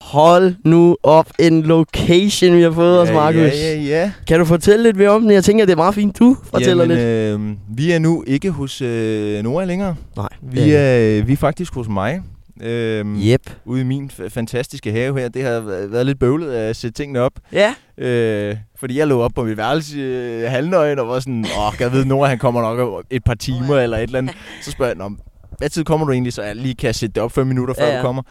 Hold nu op en location, vi har fået ja, os, Markus. Ja, ja, ja. Kan du fortælle lidt mere om den? Jeg tænker, det er meget fint, du fortæller Jamen, lidt. Øh, vi er nu ikke hos øh, Nora længere. Nej, Vi, er, vi er faktisk hos mig. Øh, Jep. Ude i min fa- fantastiske have her. Det har væ- været lidt bøvlet at sætte tingene op. Ja. Øh, fordi jeg lå op på mit værelse øh, halvnøgen og var sådan, åh, jeg ved, Nora han kommer nok om et par timer eller et eller andet. Så spørger jeg, "Nå, hvad tid kommer du egentlig, så jeg lige kan sætte det op 5 minutter, før Ja, ja, ja. ja. du kommer.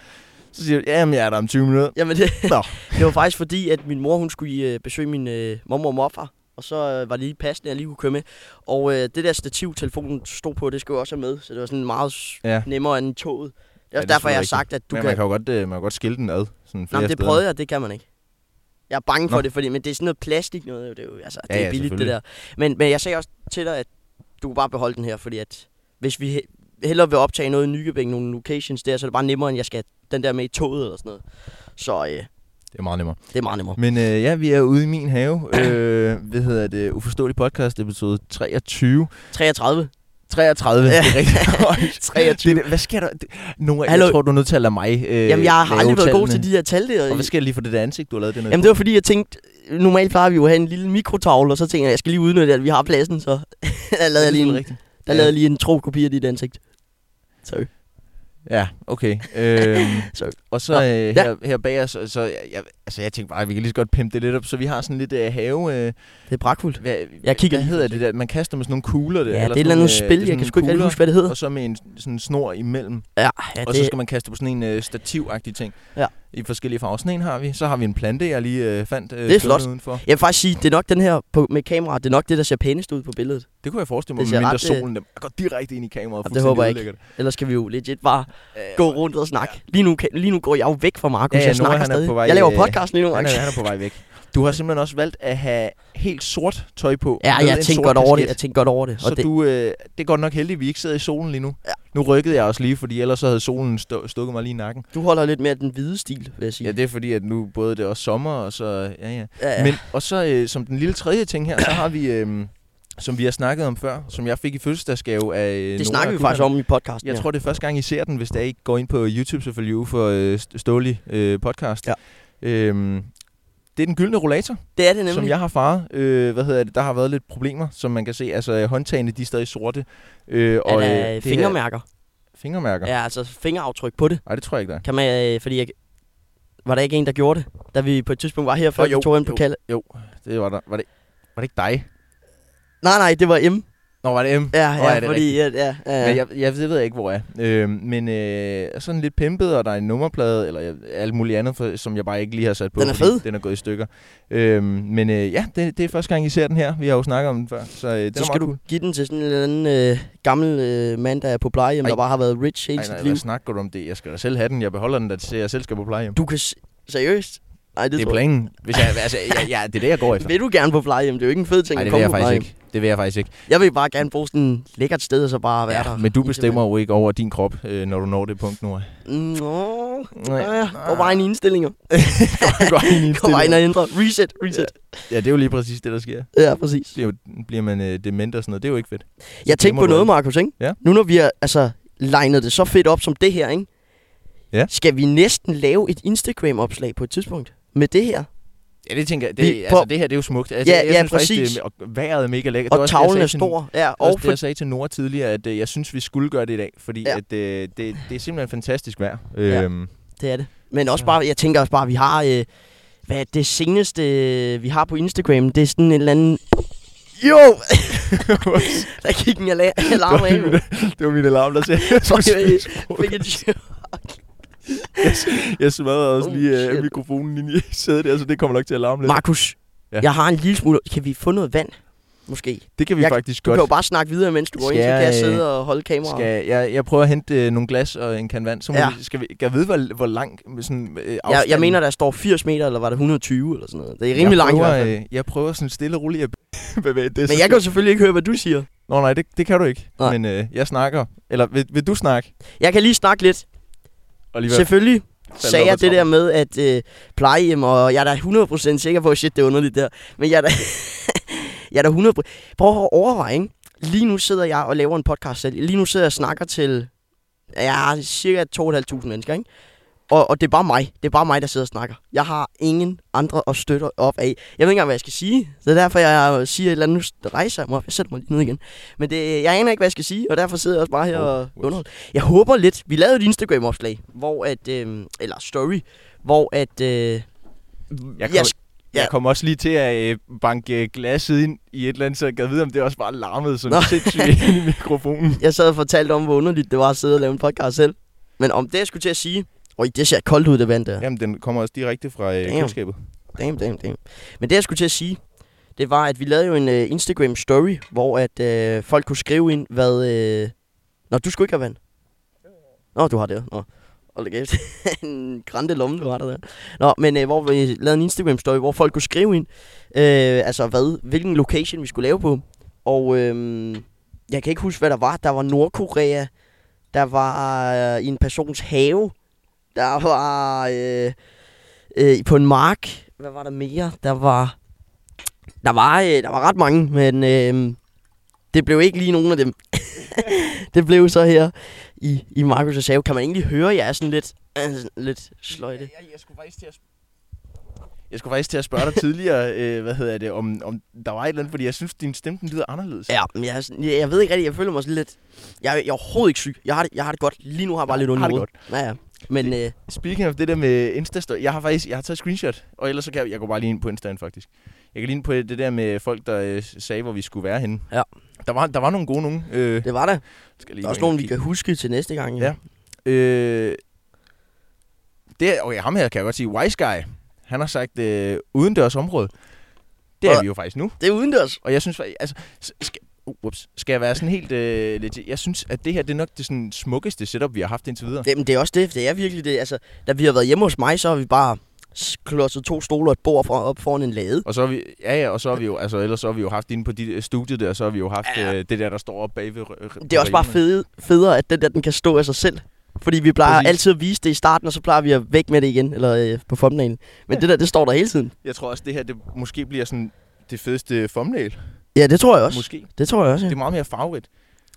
Så siger jeg, jamen jeg er der om 20 minutter. Jamen, det, Nå. det var faktisk fordi, at min mor hun skulle i, øh, besøge min øh, mormor og morfar. Og så øh, var det lige passende, at jeg lige kunne køre med. Og øh, det der stativ, telefonen stod på, det skulle jeg også have med. Så det var sådan meget s- Ja. nemmere end toget. Det er Ja, også det er derfor, jeg har selvfølgelig sagt, at du Du men kan... man kan... kan jo godt, øh, man kan godt skille den ad. Sådan Nå, flere men det steder. prøvede jeg, det kan man ikke. Jeg er bange for Nå. det, fordi, men det er sådan noget plastik noget. Det er jo altså, det Ja, er ja, billigt, det der. selvfølgelig. Men, men jeg sagde også til dig, at du kan bare beholde den her, fordi at hvis vi he- hellere vil optage noget i Nykøbing, nogle locations der, så er det bare nemmere, end jeg skal have den der med i toget eller sådan noget. Så øh, Det er meget nemmere. det er meget nemmere. Men øh, ja, vi er ude i min have. Øh, hvad hedder det? Uforståelig podcast, episode 23. 33. 33, det er rigtigt. 23. Det, er det, hvad sker der? Det, Nora, jeg Hallo. tror, du er nødt til at lade mig øh, Jamen, jeg har lave aldrig været god tallene. til de der tal der. Og hvad sker der lige for det der ansigt, du har lavet? Det er noget- Jamen, det var fordi, jeg tænkte, normalt plejer vi jo at have en lille mikrotavle, og så tænker jeg, jeg skal lige udnytte, at vi har pladsen, så der lavede jeg lige en, rigtigt. der lavede jeg lige en tro kopi af dit ansigt. Sorry. Ja, okay. øhm, Sorry. og så Nå, øh, her, her bag os, så jeg, jeg, altså, jeg tænkte bare, vi kan lige så godt pimpe det lidt op, så vi har sådan lidt øh, have... Øh, Det er pragtfuldt. hvad, Jeg kigger hvad lige hedder det der? Man kaster med sådan nogle kugler. Ja, Der, det er eller et eller andet sådan, øh, det er spil, jeg sådan kan sgu ikke rigtig kugler, huske, hvad det hedder. Og så med en sådan en snor imellem. Ja, ja Og så det, skal man kaste på sådan en øh, stativagtig ting. Ja. I forskellige farver. Sådan en har vi. Så har vi en plante, jeg lige øh, fandt øh, Det er flot. stående udenfor. jeg vil faktisk sige, det er nok den her på, med kamera, det er nok det, der ser pænest ud på billedet. Det kunne jeg forestille mig, Det ser med mindre ret, øh, solen den går direkte ind i kameraet. Jamen, og det håber jeg Øh, fuldstændig Ellers skal vi jo legit bare ødelægger det. gå rundt og snakke. Lige nu, kan- lige nu går jeg jo væk fra Markus, Ja, ja, ja, jeg Nora, snakker han er stadig. på vej, jeg laver øh, podcast lige nu, Han Markus. er, han er på vej væk. Du har simpelthen også valgt at have helt sort tøj på. Ja, med en jeg tænker sort godt over det, kasket. jeg tænker godt over det. Så Og det... det, du, øh, det er godt nok heldigt, at vi ikke sidder i solen lige nu. Ja. Nu rykkede jeg også lige, fordi ellers så havde solen stå, stukket mig lige i nakken. du holder lidt mere den hvide stil, vil jeg sige. Ja, det er fordi, at nu både det er også sommer, og så... Ja, ja. Ja, Ja. ja. Men, og så øh, som den lille tredje ting her, så har vi, øh, som vi har snakket om før, som jeg fik i fødselsdagsgave af øh, Nora det snakker vi Kuhlmann. faktisk om i podcasten. Jeg ja. tror, det er første gang, I ser den, hvis der ikke går ind på YouTube selvfølgelig for øh, Stålig øh, podcast. Ja. Øhm, det er den gyldne rollator, det er det Nemlig. som nemlig. jeg har faret. Øh, hvad hedder det? Der har været lidt problemer, som man kan se. Altså, øh, håndtagene, de er stadig sorte. Øh, Og, Eller, øh, øh, det her- fingermærker. Fingermærker? Ja. Ja, altså fingeraftryk på det. Nej, det tror jeg ikke, der er. Kan man, øh, fordi jeg, var der ikke en, der gjorde det, da vi på et tidspunkt var her, før Åh, jo, vi tog ind på jo. kalde? Det var, der. Var, det, var det ikke dig? Nej, nej, det var M. Nå, var det M? Ja, Nå, ja, ja, det er fordi, ja, ja, ja. Ja. Jeg, jeg, det ved jeg ikke, hvor jeg er. Øh, men øh, sådan lidt pimpet, og der er en nummerplade, eller jeg- alt muligt andet, for, som jeg bare ikke lige har sat på. Den er fordi fed. Den er gået i stykker. Øh, men øh, ja, det, det er første gang, I ser den her. Vi har jo snakket om den før, så øh, den Så skal er meget du cool. give den til sådan en eller anden øh, gammel øh, mand, der er på plejehjem, Ej. der bare har været rich hele Ej, sit nej, liv. hvad snakker du om det? Jeg skal da selv have den. Jeg beholder den, da til jeg selv skal på plejehjem. Du kan... S- seriøst? Nej, det, Det tror er jeg. planen. Hvis jeg, altså, jeg, jeg, det er det, jeg går efter. Vil du gerne på plejehjem? Det er jo ikke en fed ting Nej, at det komme vil jeg på faktisk plejehjem. ikke. Det vil jeg faktisk ikke. Jeg vil bare gerne bruge sådan et lækkert sted, og så bare være der. men du indtil- bestemmer jo ikke over din krop, øh, når du når det punkt nu. Nå, Nej. nej. Og bare en indstillinger. Kom bare ind og ændre. Reset, reset. Ja, det er jo lige præcis det, der sker. Ja, præcis. Bliver, jo- bliver man øh, dement og sådan noget. Det er jo ikke fedt. Jeg tænkte glemmer på du noget, alt. Markus, ikke? Ja. Nu når vi har altså, legnet det så fedt op som det her, ikke? Ja. Skal vi næsten lave et Instagram-opslag på et tidspunkt? Med det her. Ja, det tænker jeg. det- Vi- Det, altså, prøv- altså, det her, det er jo smukt. Altså, Altså, Ja, jeg jeg ja, synes synes faktisk, det er- præcis. Faktisk, det, og vejret er mega lækkert. Og tavlen er stor. Ja, Og og også det, jeg sagde til Nora tidligere, at øh, jeg synes, vi skulle gøre det i dag, fordi Ja. ja. at, øh, det, det er simpelthen fantastisk vejr. Ja. Øhm, Det er det. Men også Ja. bare, jeg tænker også bare, at vi har... Øh, hvad er det seneste, øh, vi har på Instagram, det er sådan en eller anden... Jo! der gik en ala- alarm af. det, var mand. min, det var min alarm, der sagde, at jeg skulle Sorry, spise jeg frokost. fik et chok. Jeg smadrede også Oh, lige shit. øh, mikrofonen ind i sædet der, så det kommer nok til at larme lidt. Markus, Ja. jeg har en lille smule... Kan vi få noget vand? Måske. det kan vi jeg- faktisk Du godt. kan jo bare snakke videre, mens du går ind, så kan jeg Skal jeg, øh, sidde og holde kameraet. Skal jeg, jeg prøver at hente øh, nogle glas og en kan vand, så må Ja. ja. vi, skal vi, kan jeg vide, hvor, hvor lang øh, sådan, øh, Jeg, jeg mener, der står 80 meter, eller var det 120 eller sådan noget. Det er rimelig langt i prøver, hvert fald. øh, Jeg prøver sådan stille og roligt at bevæge det. Men jeg kan jo selvfølgelig ikke høre, hvad du siger. Nå nej, det, det kan du ikke. Nej. Nej. Men øh, jeg snakker. Eller vil, vil du snakke? Jeg kan lige snakke lidt. Og Selvfølgelig sagde op ad jeg det der trappen. med, at øh, plejehjem, og jeg er da 100% sikker på, shit, det er underligt der. Men jeg er da, jeg er da 100%... Prøv at overveje, ikke? Lige nu sidder jeg og laver en podcast selv. Lige nu sidder jeg og snakker til ja, cirka 2.500 mennesker, ikke? Og, og det er bare mig. Det er bare mig, der sidder og snakker. Jeg har ingen andre at støtte op af. Jeg ved ikke engang, hvad jeg skal sige. Det er derfor, jeg siger et eller andet. Nu rejser jeg mig op. Jeg sætter mig lige ned igen. Men det, jeg aner ikke, hvad jeg skal sige, og derfor sidder jeg også bare her Oh, og whoops. underholder. Jeg håber lidt. Vi lavede et Instagram-opslag, hvor at... Øh, eller story, hvor at... Øh, Jeg jeg, kom, ja. jeg kom også lige til at øh, banke øh, glasset ind i et eller andet, så jeg gad vide, om det også bare larmede sådan Nå. sindssygt ind i mikrofonen. jeg sad og fortalte om, hvor underligt det var at sidde og lave en podcast selv. Men om det, jeg skulle til at sige... Oj, det ser koldt ud, det vand der. Jamen, den kommer også direkte fra øh, Damn. køleskabet. Damn, damn, damn. Men det, jeg skulle til at sige, det var, at vi lavede jo en øh, Instagram-story, hvor at øh, folk kunne skrive ind, hvad... Øh... Nå, du skulle ikke have vand. Nå, du har det. Nå. Hold da kæft. en grænte lomme, du har der. der. Nå, men øh, hvor vi lavede en Instagram-story, hvor folk kunne skrive ind, øh, altså hvad, hvilken location vi skulle lave på. Og øh, jeg kan ikke huske, hvad der var. Der var Nordkorea. Der var øh, i en persons have. Der var... Øh, øh, på en mark. Hvad var der mere? Der var der var øh, der var ret mange, men øh, det blev ikke lige nogen af dem. det blev så her i i Markus' have. Kan man egentlig høre, jeg er sådan lidt øh, sådan lidt sløjte. Jeg, jeg, skulle faktisk til at jeg skulle faktisk til at spørge dig tidligere, øh, hvad hedder det, om, om der var et eller andet, fordi jeg synes, din stemme den lyder anderledes. Ja, men jeg, er sådan- jeg, jeg ved ikke rigtigt, jeg føler mig sådan lidt... Jeg, er- jeg er overhovedet ikke syg. Jeg har det, jeg har det godt. Lige nu har jeg bare Nå, lidt ondt har i det hovedet. Ja, ja. Men øh, Speaking of det der med insta jeg har faktisk jeg har taget screenshot, og ellers så kan jeg, jeg går bare lige ind på Insta'en faktisk. Jeg kan lige ind på det der med folk, der øh, sagde, hvor vi skulle være henne. Ja. Der var, der var nogle gode nogen. Øh, det var der. skal jeg lige Der er gå også ind og nogen, vi kigge. kan huske til næste gang. jo. Ja. Øh, det, okay, ham her kan jeg godt sige. Wise Guy, han har sagt øh, udendørs område. Det er Og- vi jo faktisk nu. Det er udendørs. Og jeg synes, fak- altså, s- skal, uh, whoops, skal jeg være sådan helt øh, legit? Jeg synes, at det her det er nok det sådan, smukkeste setup, vi har haft indtil videre. Jamen, det er også det. Det er virkelig det. Altså, da vi har været hjemme hos mig, så har vi bare s- klodset to stole og et bord for, op foran en lade. Og så er vi, ja, ja, og så er vi jo, altså ellers så har vi jo haft inde på dit øh, studie der, så har vi jo haft Ja. ja. øh, det der, der står oppe bagved. rø- rø- Det er også bare reolen. fede, federe, at den der, den kan stå af sig selv. Fordi vi plejer Præcis. Præcis. altid at vise det i starten, og så plejer vi at væk med det igen, eller øh, på thumbnailen. Men det der, det står der hele tiden. Jeg tror også, det her, det måske bliver sådan det fedeste thumbnail. Ja, det tror jeg også. Måske. Det tror jeg også, ja. Det er meget mere farverigt.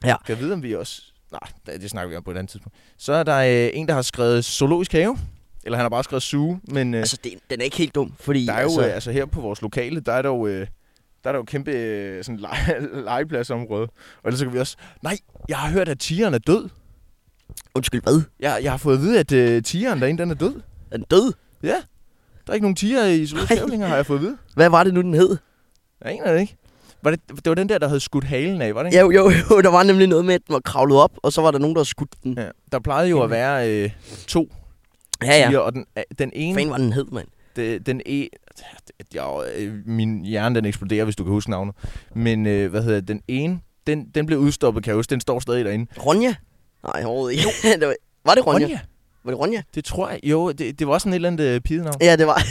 Ja. Kan jeg vide, om vi også... Nej, det, det snakker vi om på et andet tidspunkt. Så er der øh, en, der har skrevet zoologisk have. Eller han har bare skrevet zoo, men øh, Altså, altså, det, den er ikke helt dum, fordi... der er jo, altså, altså, øh, altså her på vores lokale, der er der jo, øh, der er der jo kæmpe øh, sådan lege, legepladsområde. Og ellers så kan vi også... Nej, jeg har hørt, at tigeren er død. Undskyld, hvad? Jeg, jeg har fået at vide, at øh, tigeren derinde, den er død. Er den død? Ja, der er ikke nogen tiger i zoologisk Nej. have længere, har jeg fået at vide. Hvad var det nu, den hed? Jeg aner det ikke. Var det, det var den der, der havde skudt halen af, var det ikke? Ja, jo, jo, jo, der var nemlig noget med, at den var kravlet op, og så var der nogen, der havde skudt den. Ja. Der plejede jo at være øh, to Ja, ja. tiger, og den, øh, den ene... Fanden var den hed, mand. det, den e... Jeg, øh, min hjerne, den eksploderer, hvis du kan huske navnet. Men øh, hvad hedder det? den ene, den, den blev udstoppet, kan jeg huske. Den står stadig derinde. Ronja? Nej, overhovedet ikke. det var, var det Ronja? Var det Ronja? Det tror jeg. Jo, det, det var sådan et eller andet øh, pigenavn. Ja, det var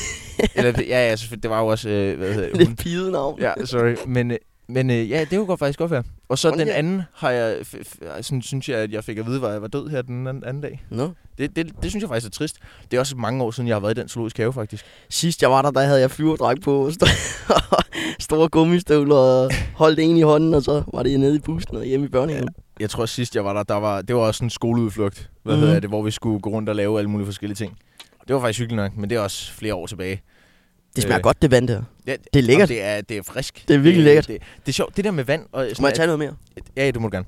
eller, det- ja, ja, selvfølgelig, det var jo også... Øh, hvad hedder hun? det pide navn. Ja, sorry. Men, øh, men øh, ja, det kunne godt faktisk godt være. Og så Ronja. den anden har jeg... F- f- sådan, synes jeg, at jeg fik at vide, at jeg var død her den anden, anden dag. Nå. Det, det, det, synes jeg faktisk er trist. Det er også mange år siden, jeg har været i den zoologiske have, faktisk. Sidst jeg var der, der havde jeg flyverdragt på, og st- og store gummistøvler, og holdt en i hånden, og så var det nede i bussen og hjemme i børnehaven. Jeg tror sidst jeg var der, der var, det var også en skoleudflugt, hvad Mhm. mm. hedder det, hvor vi skulle gå rundt og lave alle mulige forskellige ting. Det var faktisk hyggeligt nok, men det er også flere år tilbage. Det smager Øh. godt, det vand der. Ja, Det er lækkert. Det er, det er frisk. Det er virkelig lækkert. Det, det, er sjovt, det der med vand. Og sådan, Må jeg at- tage noget mere? Ja, ja, du må gerne.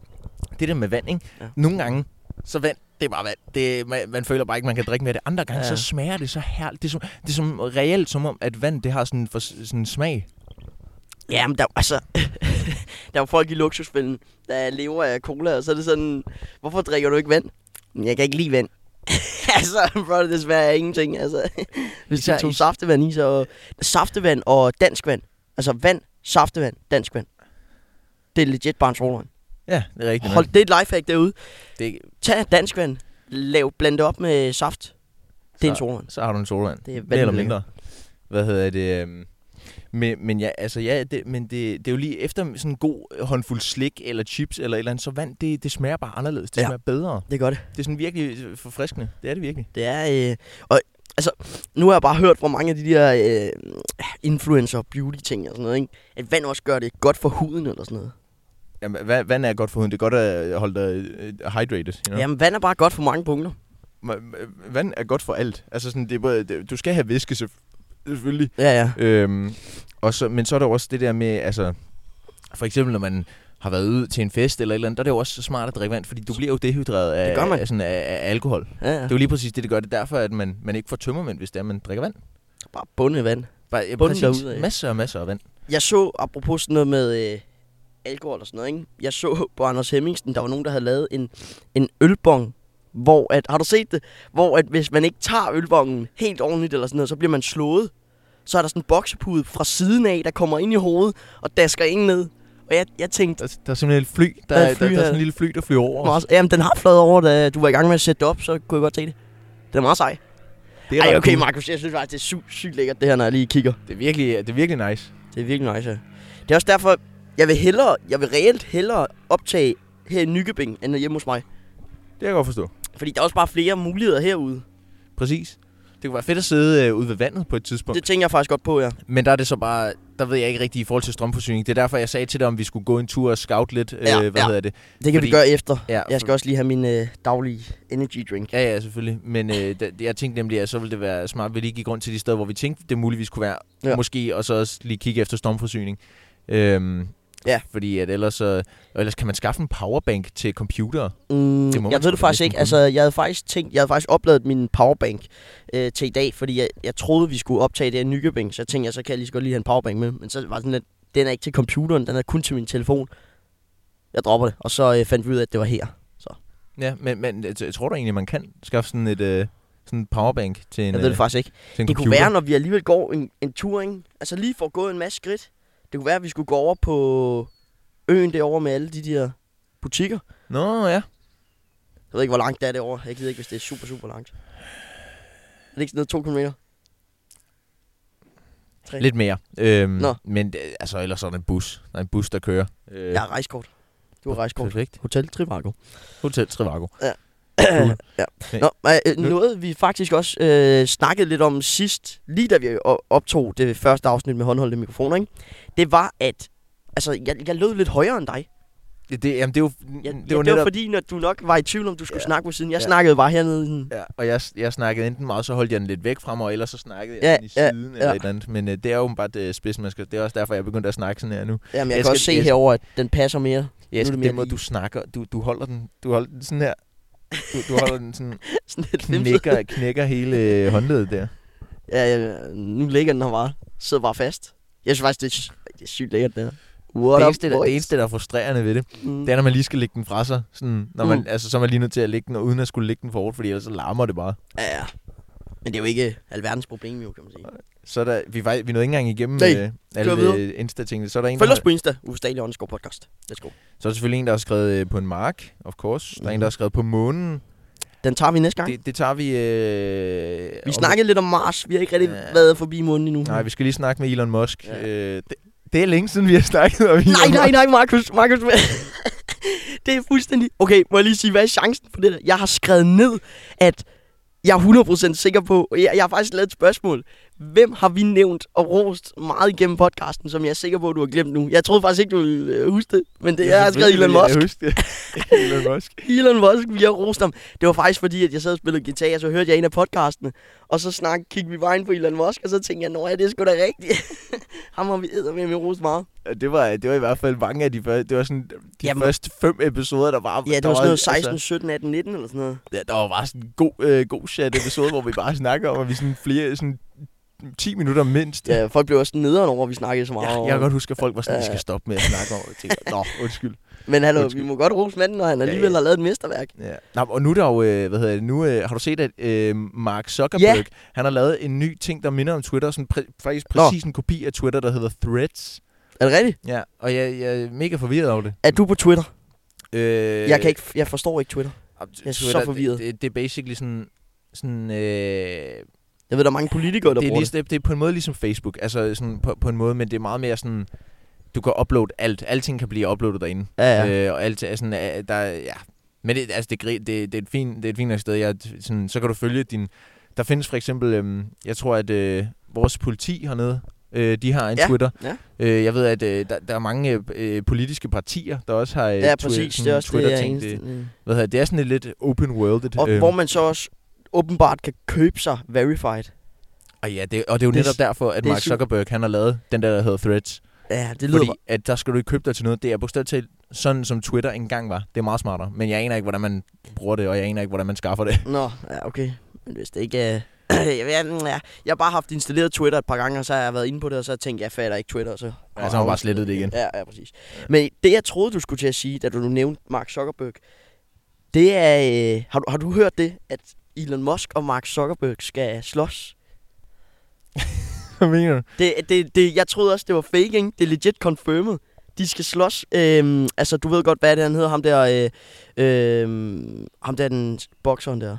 Det der med vand, ikke? Ja. Ja. Nogle gange, så vand, det er bare vand. Det, man, man føler bare ikke, man kan drikke mere af det. Andre gange, Ja. ja. så smager det så herligt. Det er, som, det er som reelt, som om, at vand, det har sådan en for, sådan en smag. Ja, men der, altså, der er jo folk i luksusfælden, der lever af cola, og så er det sådan, hvorfor drikker du ikke vand? "Men Jeg kan ikke lide vand. altså, bro, det er desværre ingenting. Altså, hvis Især du tog is. saftevand i, så... Saftevand og dansk vand. Altså vand, saftevand, dansk vand. Det er legit barns rolleren. Ja, det er rigtigt. Hold, det er et lifehack derude. det, Tag dansk vand, lav, bland det op med saft. Det er en Så- solvand. så har du en solvand. Det er Mere eller vanvittigt. mindre. Hvad hedder det? øhm, Men, men ja, altså ja, det, men det, det er jo lige efter sådan en god håndfuld slik eller chips eller et eller andet, så vand, det, det smager bare anderledes. Det Ja. ja. smager bedre. Det gør det. Det er sådan virkelig øh, forfriskende. Det er det virkelig. Det er, øh, og altså, nu har jeg bare hørt fra mange af de der øh, influencer og beauty ting og sådan noget, ikke? at vand også gør det godt for huden eller sådan noget. Jamen, va- vand er godt for huden. Det er godt at holde dig øh, hydrated. You Ja. know? Jamen, vand er bare godt for mange punkter. ma- vand er godt for alt. Altså sådan, det er både, det, du skal have væske selvf- selvfølgelig. Ja, ja. Øhm, og så, men så er der jo også det der med, altså, for eksempel når man har været ude til en fest eller et eller andet, der er det jo også så smart at drikke vand, fordi du bliver jo dehydreret af, Det gør man. af, sådan, af, af alkohol. ja, ja. Det er jo lige præcis det, det gør. Det er derfor, at man, man ikke får tømmermænd, hvis det er, man drikker vand. Bare bundet vand. Bare, ja, Bunden præcis. derudad. Masser og masser af vand. Jeg så, apropos sådan noget med øh, alkohol og sådan noget, ikke? Jeg så på Anders Hemmingsen, der var nogen, der havde lavet en, en ølbong, hvor at, har du set det? Hvor at hvis man ikke tager ølbongen helt ordentligt eller sådan noget, så bliver man slået. Så er der sådan en boksepude fra siden af, der kommer ind i hovedet og dasker en ned. Og jeg, jeg tænkte, Der, der er simpelthen et fly. Der, Der er er, et der, fly der, der er her. sådan en lille fly, der flyver over. os. også, jamen den har fløjet over, da du var i gang med at sætte det op, så kunne jeg godt se det. Det er meget sej. Det Ej, ret okay, cool. Markus, jeg synes faktisk, det er sygt, sygt lækkert, det her, når jeg lige kigger. Det er virkelig, det er virkelig nice. Det er virkelig nice, ja. Det er også derfor, jeg vil hellere, jeg vil reelt hellere optage her i Nykøbing, end hjemme hos mig. Det kan jeg godt forstå. Fordi der er også bare flere muligheder herude. Præcis. Det kunne være fedt at sidde øh, ude ved vandet på et tidspunkt. Det tænker jeg faktisk godt på, ja. Men der er det så bare, der ved jeg ikke rigtigt i forhold til strømforsyning. Det er derfor, jeg sagde til dig, om vi skulle gå en tur og scout lidt. Ja, øh, hvad ja. hedder Det det? kan Fordi... Fordi- vi gøre efter. Ja, Jeg skal også lige have min øh, daglige energy drink. Ja, ja, selvfølgelig. Men øh, da, jeg tænkte nemlig, at så ville det være smart, at vi lige gik rundt til de steder, hvor vi tænkte, det muligvis kunne være. Ja. Ja. Måske, og så også lige kigge efter stormforsyning. Øhm, Ja. Fordi at ellers, øh, og ellers kan man skaffe en powerbank til computer. Mm, Det må jeg man sgu ved da det faktisk næsten ikke. kunne. Altså, jeg havde faktisk tænkt, jeg havde faktisk opladet min powerbank øh, til i dag, fordi jeg, jeg troede, vi skulle optage det her i Nykøbing. Så jeg tænkte jeg, så kan jeg lige så godt lige have en powerbank med. Men så var det sådan, at den er ikke til computeren, den er kun til min telefon. Jeg dropper det, og så øh, fandt vi ud af, at det var her. Ja, men, men jeg, jeg tror da egentlig, man kan skaffe sådan et øh, sådan en powerbank til en, Jeg ved øh, det faktisk ikke. til en Det computer. kunne være, når vi alligevel går en, en tur, ikke? Altså lige for at gå en masse skridt. Det kunne være, at vi skulle gå over på øen derovre med alle de der butikker. Nå, ja. Jeg ved ikke, hvor langt det er derovre. Jeg gider ikke, hvis det er super, super langt. Er det ikke sådan noget to kilometer? Tre. Lidt mere. Øhm, Nå. Men øh, altså, ellers sådan en bus. Der er en bus, der kører. Øh, Jeg har rejskort. Du har rejskort. Perfekt. Hotel Trivago. Hotel Trivago. Cool. Cool. ja. Ja. Nå, øh, Nu- noget vi faktisk også øh, snakkede lidt om sidst, lige da vi o- optog det første afsnit med håndholdte mikrofoner, ikke? det var, at altså, jeg, jeg lød lidt højere end dig. Ja, Det, jamen, det er jo, Ja, det, det er ja, jo det var netop... fordi, når du nok var i tvivl om, du skulle ja. Ja. snakke på siden. Jeg ja. Ja. snakkede bare hernede. i den- Ja, og jeg, jeg snakkede enten meget, så holdt jeg den lidt væk fra mig, og ellers så snakkede jeg Ja, sådan i ja, siden eller ja. et eller andet. Men øh, det er jo bare det spids, man skal... Det er også derfor, jeg begyndte at snakke sådan her nu. Jamen, jeg, jeg Jeg kan skal- også se jeg- herover, at den passer mere. Jeg det skal mere den måde, lige. du snakker. Du, du holder den, du holder den sådan her. Du, du holder den sådan, Sådan lidt flimset. knækker, knækker hele øh, håndledet der. Mm. Ja, ja, nu ligger den her bare. Sidder bare fast. Jeg synes faktisk, det er, sy- det er sygt lækkert, det her. What det, up, eneste, der, boys? det eneste, der er frustrerende ved det, Mm. det er, når man lige skal lægge den fra sig. Sådan, når man, Mm. mm. altså, så er man lige nødt til at lægge den, og uden at skulle lægge den for hårdt, fordi ellers så larmer det bare. Ja, ja. Men det er jo ikke alverdens problem, jo, kan man sige. Så er der, vi, er, faktisk- vi nåede ikke engang igennem Nej, øh, alle videre. øh, Insta-tingene. Så er der en, der, Følg os har- på Insta, Ufstadelig Underskov Podcast. Let's go. så er der selvfølgelig en, der har skrevet øh, på en mark, of course. Der er Mhm. en, der har skrevet på månen. Den tager vi næste gang. Det, Det, det tager vi... Øh, vi om- snakkede lidt om Mars. Vi har ikke rigtig Ja. været forbi munden endnu. Nej, vi skal lige snakke med Elon Musk. Ja. Ja. Øh, det, det er længe siden, vi har snakket om Elon Nej, nej, Musk. nej, Markus, Markus. det er fuldstændig... Okay, må jeg lige sige, hvad er chancen for det der? Jeg har skrevet ned, at jeg er 100% sikker på... og Jeg, jeg har faktisk lavet et spørgsmål. Hvem har vi nævnt og rost meget igennem podcasten, som jeg er sikker på, at du har glemt nu? Jeg troede faktisk ikke, du ville øh, huske det, men det, jeg har skrevet Elon Musk. Jeg husker det. Elon Musk. Elon Musk, vi har rost ham. Det var faktisk fordi, at jeg sad og spillede guitar, og så hørte jeg en af podcastene. Og så snak, kiggede vi vejen på Elon Musk, og så tænkte jeg, nå ja, det er sgu da rigtigt. ham har vi eddermed med rost meget. Og Det var, det var i hvert fald mange af de første... Det var sådan de Jamen- første fem episoder, der var... Ja, det der var sådan noget 16, Altså, 17, 18, 19 eller sådan noget. ja, der var bare sådan en god, øh, god chat episode, hvor vi bare snakker om, at vi sådan flere... Sådan 10 minutter mindst. Ja, folk blev også sådan nederen over, at vi snakkede så meget. Jeg, om- jeg kan godt huske, at folk var sådan, at Ja, vi ja. skal stoppe med at snakke om det. Jeg tænker, Nå, undskyld. Men hallo, vi Undskyld. må godt rose manden, når han alligevel ja. har lavet et mesterværk. Ja. Nå, og nu er der jo, øh, hvad hedder det, nu øh, har du set, at øh, Mark Zuckerberg, Ja. ja. han har lavet en ny ting, der minder om Twitter, sådan præ- faktisk præcis Nå. en kopi af Twitter, der hedder Threads. Er det rigtigt? Ja, og jeg, jeg er mega forvirret over det. Er du på Twitter? Øh, Jeg, kan ikke, jeg forstår ikke Twitter. jeg er så forvirret. Det, det, det er basically sådan, sådan øh, Jeg ved, der er mange politikere, der det, er bruger lige, det. det er på en måde ligesom Facebook, altså sådan på, på en måde, men det er meget mere sådan, du kan uploade alt. Alting kan blive uploadet derinde. det. Ja, ja. Øh, og alt er sådan, øh, der, er- ja. Men det, altså, det, er gri- det, det, er et fint, det er et fint nok sted. Jeg, er t- sådan, så kan du følge din... Der findes for eksempel, øhm, jeg tror, at øh, vores politi hernede, øh, de har en Ja, Twitter. ja. Øh, jeg ved, at øh, der, der er mange øh, øh, politiske partier, der også har øh, Ja, twi- præcis. sådan Det er også det, jeg er Twitter-ting. eneste. hvad hedder, det er sådan et lidt open-worldet. Og hvor man så også åbenbart kan købe sig verified. Og ja, det, og det er jo Det er netop s- derfor, at det er Mark super- Zuckerberg han har lavet den der, der hedder Threads. Ja, det lyder Fordi bare- at der skal du ikke købe dig til noget. Det er bogstaveligt talt sådan, som Twitter engang var. Det er meget smartere. Men jeg aner ikke, hvordan man bruger det, og jeg aner ikke, hvordan man skaffer det. Nå, ja, okay. Men hvis det ikke er... jeg, ved- ja, jeg har bare haft installeret Twitter et par gange, og så har jeg været inde på det, og så har jeg tænkt, jeg fatter ikke Twitter, og så... Ja, så har man bare slettet det igen. Ja, ja, præcis. Men det, jeg troede, du skulle til at sige, da du nu nævnte Mark Zuckerberg, det er... Øh, har, du, har du hørt det, at Elon Musk og Mark Zuckerberg skal slås? Hvad mener du? Det, det, det, jeg troede også, det var fake, ikke? Det er legit confirmed. De skal slås. Øhm, altså, du ved godt, hvad det er, han hedder. Ham der... Øh, øh, ham der, den bokseren der.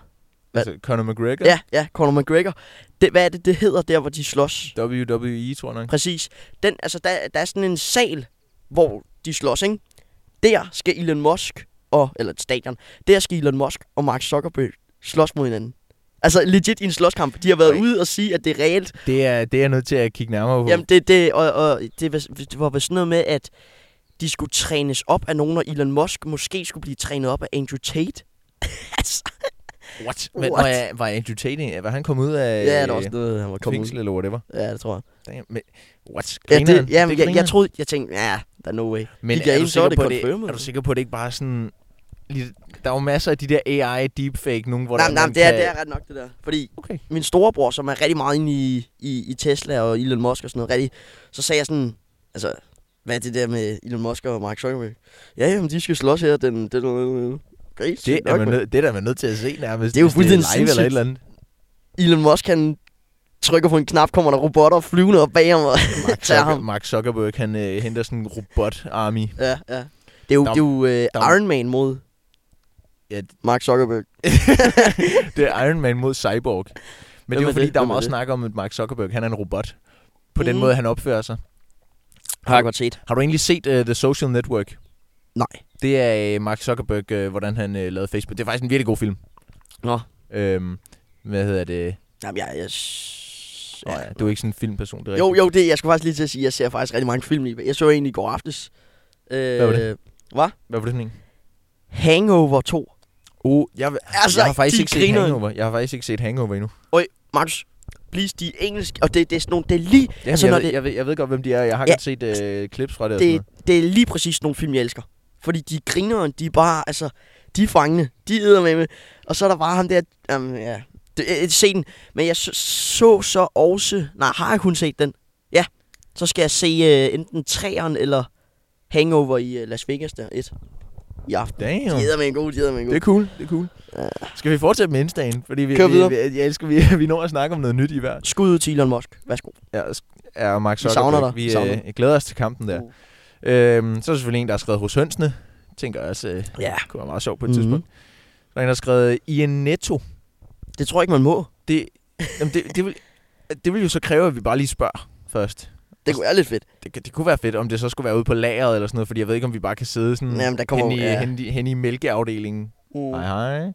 Hvad? Altså, Conor McGregor? Ja, ja, Conor McGregor. Det, hvad er det, det hedder der, hvor de slås? WWE, E, tror jeg nok. Præcis. Den, altså, der, der er sådan en sal, hvor de slås, ikke? Der skal Elon Musk og, eller et stadion, der skal Elon Musk og Mark Zuckerberg slås mod hinanden. Altså legit i en slåskamp. De har været Ej. ude og sige, at det er reelt. Det er, det er jeg nødt til at kigge nærmere på. Jamen, det, det, og, og det, var, det var vist noget med, at de skulle trænes op af nogen, og Elon Musk måske skulle blive trænet op af Andrew Tate. altså, What? What? Hvad, Var, jeg, var Andrew Tate, var han kommet ud af ja, der var også noget, han var kommet ud. fængsel eller whatever? Ja, det tror jeg. Damn, men, what? Ja, Griner han? det, ja, det jeg, griner jeg han. troede, jeg tænkte, ja, der er no way. Men gik jeg er du, ind, så var sikker det på, at det, altså. confirmed. er du sikker på, at det ikke bare er sådan... lidt- Der er jo masser af de der AI deepfake, nogen, hvor Nej, der, nej, man det er, kan... det er ret nok det der. Fordi Okay. min storebror, som er rigtig meget inde i, i, i Tesla og Elon Musk og sådan noget, rigtig, så sagde jeg sådan, altså, hvad er det der med Elon Musk og Mark Zuckerberg? Ja, jamen, de skal slås her, den... den, den, den. Gris, Det er, nok, man mand. nød, det er der man nødt til at se nærmest. Det er jo hvis fuldstændig live eller et sindssygt. eller andet. Elon Musk, han trykker på en knap, kommer der robotter flyvende op bag ham og Mark, tager Zucker, ham. Mark Zuckerberg, han øh, henter sådan en robot-army. Ja, ja. Det er jo, Der- det er jo øh, der- Iron Man mod Ja, Mark Zuckerberg. det er Iron Man mod Cyborg. Men det Hvem er er jo fordi, det? der er Hvem er meget det? snak om, at Mark Zuckerberg, han er en robot. På den Mhm. måde, han opfører sig. Har jeg godt set. Har du egentlig set uh, The Social Network? Nej. Det er uh, Mark Zuckerberg, uh, hvordan han uh, lavede Facebook. Det er faktisk en virkelig god film. Nå. Øhm, hvad hedder det? Jamen, jeg... jeg Ja, ja, du er ikke sådan en filmperson, det er Jo, rigtigt. jo, det, jeg skulle faktisk lige til at sige, at jeg ser faktisk rigtig mange film i. Jeg så en i går aftes. Øh, Hvad var det? Hvad var det for en? Hangover 2. Oh, jeg, Altså, altså, jeg har faktisk de ikke griner. Altså, set Hangover. Jeg har faktisk ikke set Hangover endnu. Markus, please, de er engelsk, og det, det er sådan nogle, det er lige, Jamen, Altså, jeg, når ved, det- jeg, ved, jeg ved godt, hvem de er. Jeg har Ja. ja. godt set øh, clips fra det. og sådan det, det er lige præcis sådan nogle film, jeg elsker. Fordi de griner, de er bare, altså, de er fangende, de æder med mig. Og så er der bare ham der, um, ja, det, et scenen. Men jeg så, så så også, nej, har jeg kun set den? Ja, så skal jeg se uh, enten træeren eller Hangover i uh, Las Vegas der, et. I aften. noget. De Damn. æder med en god, de æder med en god. Det er cool, det er cool. Ja. Skal vi fortsætte med Insta'en? Fordi vi, Kør vi, videre. vi, jeg elsker, vi, vi når at snakke om noget nyt i hver. Skud ud til Elon Musk. Værsgo. Ja, er Mark Vi savner Zuckerberg. dig. Vi, Vi savner øh, glæder os til kampen der. Uh. Øhm, så er der selvfølgelig en, der har skrevet hos hønsene. Tænker jeg også, øh, Ja. kunne være meget sjovt på et Mhm. tidspunkt. Så er der en, der har skrevet i en netto. Det tror jeg ikke, man må. Det, jamen det, det, vil, det vil jo så kræve, at vi bare lige spørger først. Det kunne være lidt fedt. Det, kan- det kunne være fedt, om det så skulle være ude på lageret eller sådan noget, fordi jeg ved ikke, om vi bare kan sidde sådan Jamen, der kommer hen, jo- i, ja. hen, i, hen i mælkeafdelingen. Uh. Hej, hej.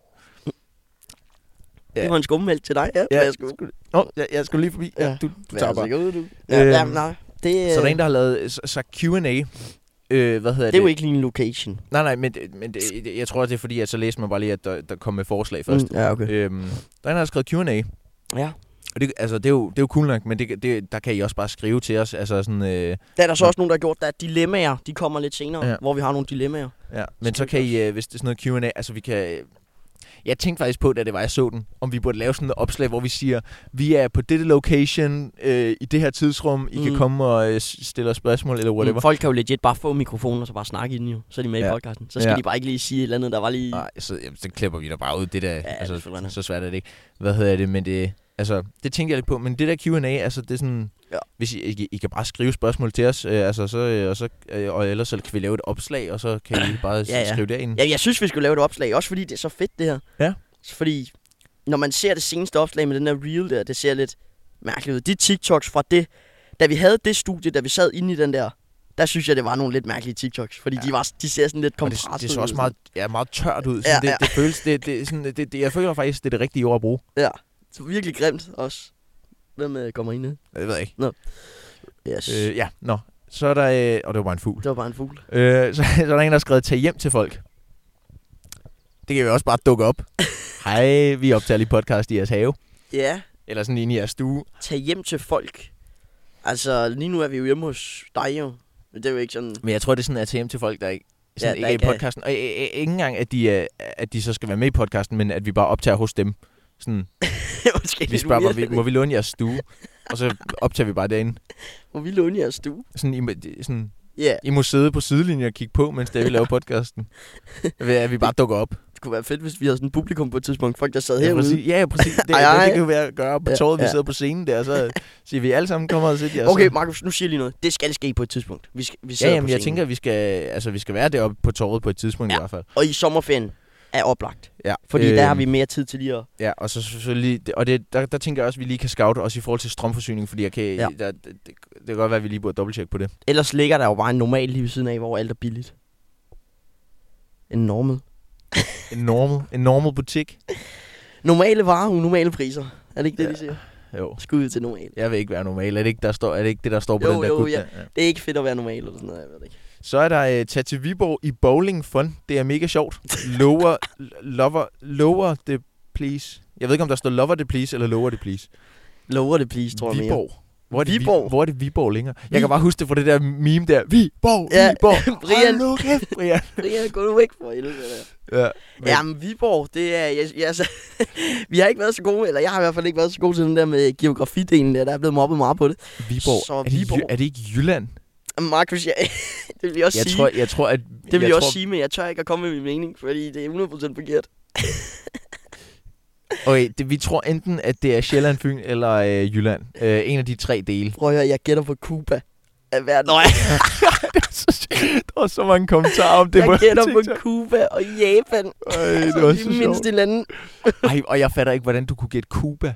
Det var en skummelt til dig. Ja, Ja. værsgo. Nå, jeg, jeg skulle lige forbi. Ja, Ja. du, du tager bare. Værsgo, du. Ja, Øhm, ja, nej. Det, Så er der en, der har lavet så, så Q&A. Øh, hvad hedder det? Øh. Mm, det er jo ikke lige en location. Nej, nej, men, det- men det, det- jeg tror, det er fordi, at så læste man bare lige, at der, der kom med forslag først. Mm, ja, okay. Mm. Øhm, der er en, der har skrevet Q&A. Ja. Og det, altså, det, er jo, det er jo cool nok, men det, det, der kan I også bare skrive til os. Altså sådan, øh, Der er der så også nogen, der har gjort, der er dilemmaer. De kommer lidt senere, Ja. ja. hvor vi har nogle dilemmaer. ja. Men så Skriv kan til I, øh, hvis det er sådan noget Q&A, altså vi kan... Jeg tænkte faktisk på, da det var, jeg så den, om vi burde lave sådan et opslag, hvor vi siger, vi er på dette location, øh, i det her tidsrum, I mm. kan Mm. komme og øh, stille os spørgsmål, eller whatever. Mm, folk kan jo legit bare få mikrofonen og så bare snakke i den jo. Så er de med Ja. i podcasten. Så skal Ja. de bare ikke lige sige et eller andet, der var lige... Nej, så, jamen, så klipper vi da bare ud. Det der, ja, det er altså, selvfølgelig det nok. så svært er det ikke. Hvad hedder det, men det, altså, det tænkte jeg lidt på. Men det der Q&A, altså, det er sådan, ja. Ja. hvis I, I, I, kan bare skrive spørgsmål til os, øh, altså, så, øh, og, så, øh, og ellers så kan vi lave et opslag, og så kan I bare ja, Ja, ja. ja. skrive derinde. Ja. Ja, jeg synes, vi skulle lave et opslag. Også fordi det er så fedt, det her. Ja. Fordi når man ser det seneste opslag med den der reel der, det ser lidt mærkeligt ud. De TikToks fra det, da vi havde det studie, da vi sad inde i den der, der synes jeg, det var nogle lidt mærkelige TikToks. Fordi ja. de, var, de ser sådan lidt Og det, kompresset det så ud. altså. også meget, ja, meget tørt ud. Ja, Sådan, ja, ja. ja. Det, det, føles, det, det, sådan, det, det, jeg føler faktisk, det er det rigtige ord at bruge. Det var virkelig grimt også. Hvem øh, kommer ind i? Det ved jeg ikke. Yes. Øh. Øh, ja, nå. Så er der, øh, og det var bare en fugl. Det var bare en fugl. Øh, så, så er der en, der har skrevet, tag hjem til folk. Det kan vi også bare dukke op. hej, vi optager lige podcast i jeres have. Ja, Eller sådan inde i jeres stue. tag hjem til folk. Altså, lige nu er vi jo hjemme hos dig jo. Det er jo ikke sådan... Men jeg tror, det er sådan, at TM til folk, der ikke, sådan, der ja, der ikke ikke er er- i podcasten. Og øh, øh, ikke engang, at de, er, at de så skal være med i podcasten, men at vi bare optager hos dem. Sådan, Måske vi lidt spørger, må vi, uvirkeligt. må vi låne jeres stue? Og så optager vi bare derinde. Må vi låne jeres stue? Sådan, I, må- det- sådan, Ja, I må sidde på sidelinjen og kigge på, mens det er, vi laver podcasten. Ved at vi bare dukker op. det kunne være fedt, hvis vi havde sådan et publikum på et tidspunkt. Folk, der sad Ja, herude. præcis. Ja, ja, præcis. Det, Ej, det, ej. det kan jo være at gøre på Ja, tåret, vi ja. sidder på scenen der, og så siger vi alle sammen, kommer og sidder der. Okay, så. Markus, nu siger jeg lige noget. Det skal ske på et tidspunkt. Vi, skal, vi Ja, sidder jamen, på jeg scenen. tænker, at vi skal, altså, vi skal være deroppe på tåret på et tidspunkt ja. i Ja. hvert fald. Og i sommerferien er oplagt. Ja. Fordi øh... der har Øhm, vi mere tid til lige at... Ja, og så selvfølgelig, og det, der, der tænker jeg også, at vi lige kan scoute også i forhold til strømforsyning, fordi jeg kan, ja. Ja. der, det, det, det kan godt være, at vi lige burde dobbelttjekke på det. Ellers ligger der jo bare en normal lige ved siden af, hvor alt er billigt. En normal. En normal, en normal butik. Normale varer, normale priser. Er det ikke det, Ja. de siger? Jo, Skud ud til normal. jeg vil ikke være normal. Er det ikke, der står, er det, ikke det, der står på Jo, den der jo, gut ja. der? Ja. Det er ikke fedt at være normal eller sådan noget, jeg ved det ikke. Så er der øh, tag til Viborg i Bowling Fun. Det er mega sjovt. Lower, l- lover, lower det please. Jeg ved ikke, om der står lover det please, eller lower det please. Lover det please, tror jeg mere. Viborg. Hvor er, det Vi, Viborg. hvor er det Viborg længere? Jeg kan bare huske det fra det der meme der. Viborg, Ja, Viborg. Brian. Hold nu kæft, Brian. Brian, gå nu væk for helvede. Der. Ja, Men... Jamen, Viborg, det er... Jeg, jeg, altså, vi har ikke været så gode, eller jeg har i hvert fald ikke været så god til den der med geografidelen der. Der er blevet mobbet meget på det. Viborg. Så er, det, Viborg. Viborg. Er det ikke Jylland? Markus, jeg, det vil jeg også Jeg sige. tror, jeg tror, at... det vil jeg, jeg også tror, sige, men jeg tør ikke at komme med min mening, fordi det er 100% forkert. Okay, det, vi tror enten, at det er Sjælland, Fyn eller øh, Jylland. Øh, en af de tre dele. Prøv at høre, jeg gætter på Cuba af verden. Nej, der var så mange kommentarer om det. jeg gætter på Cuba og Japan. Ej, Altså, det var de så sjovt. mindste lande. Ej, og jeg fatter ikke, hvordan du kunne gætte Cuba.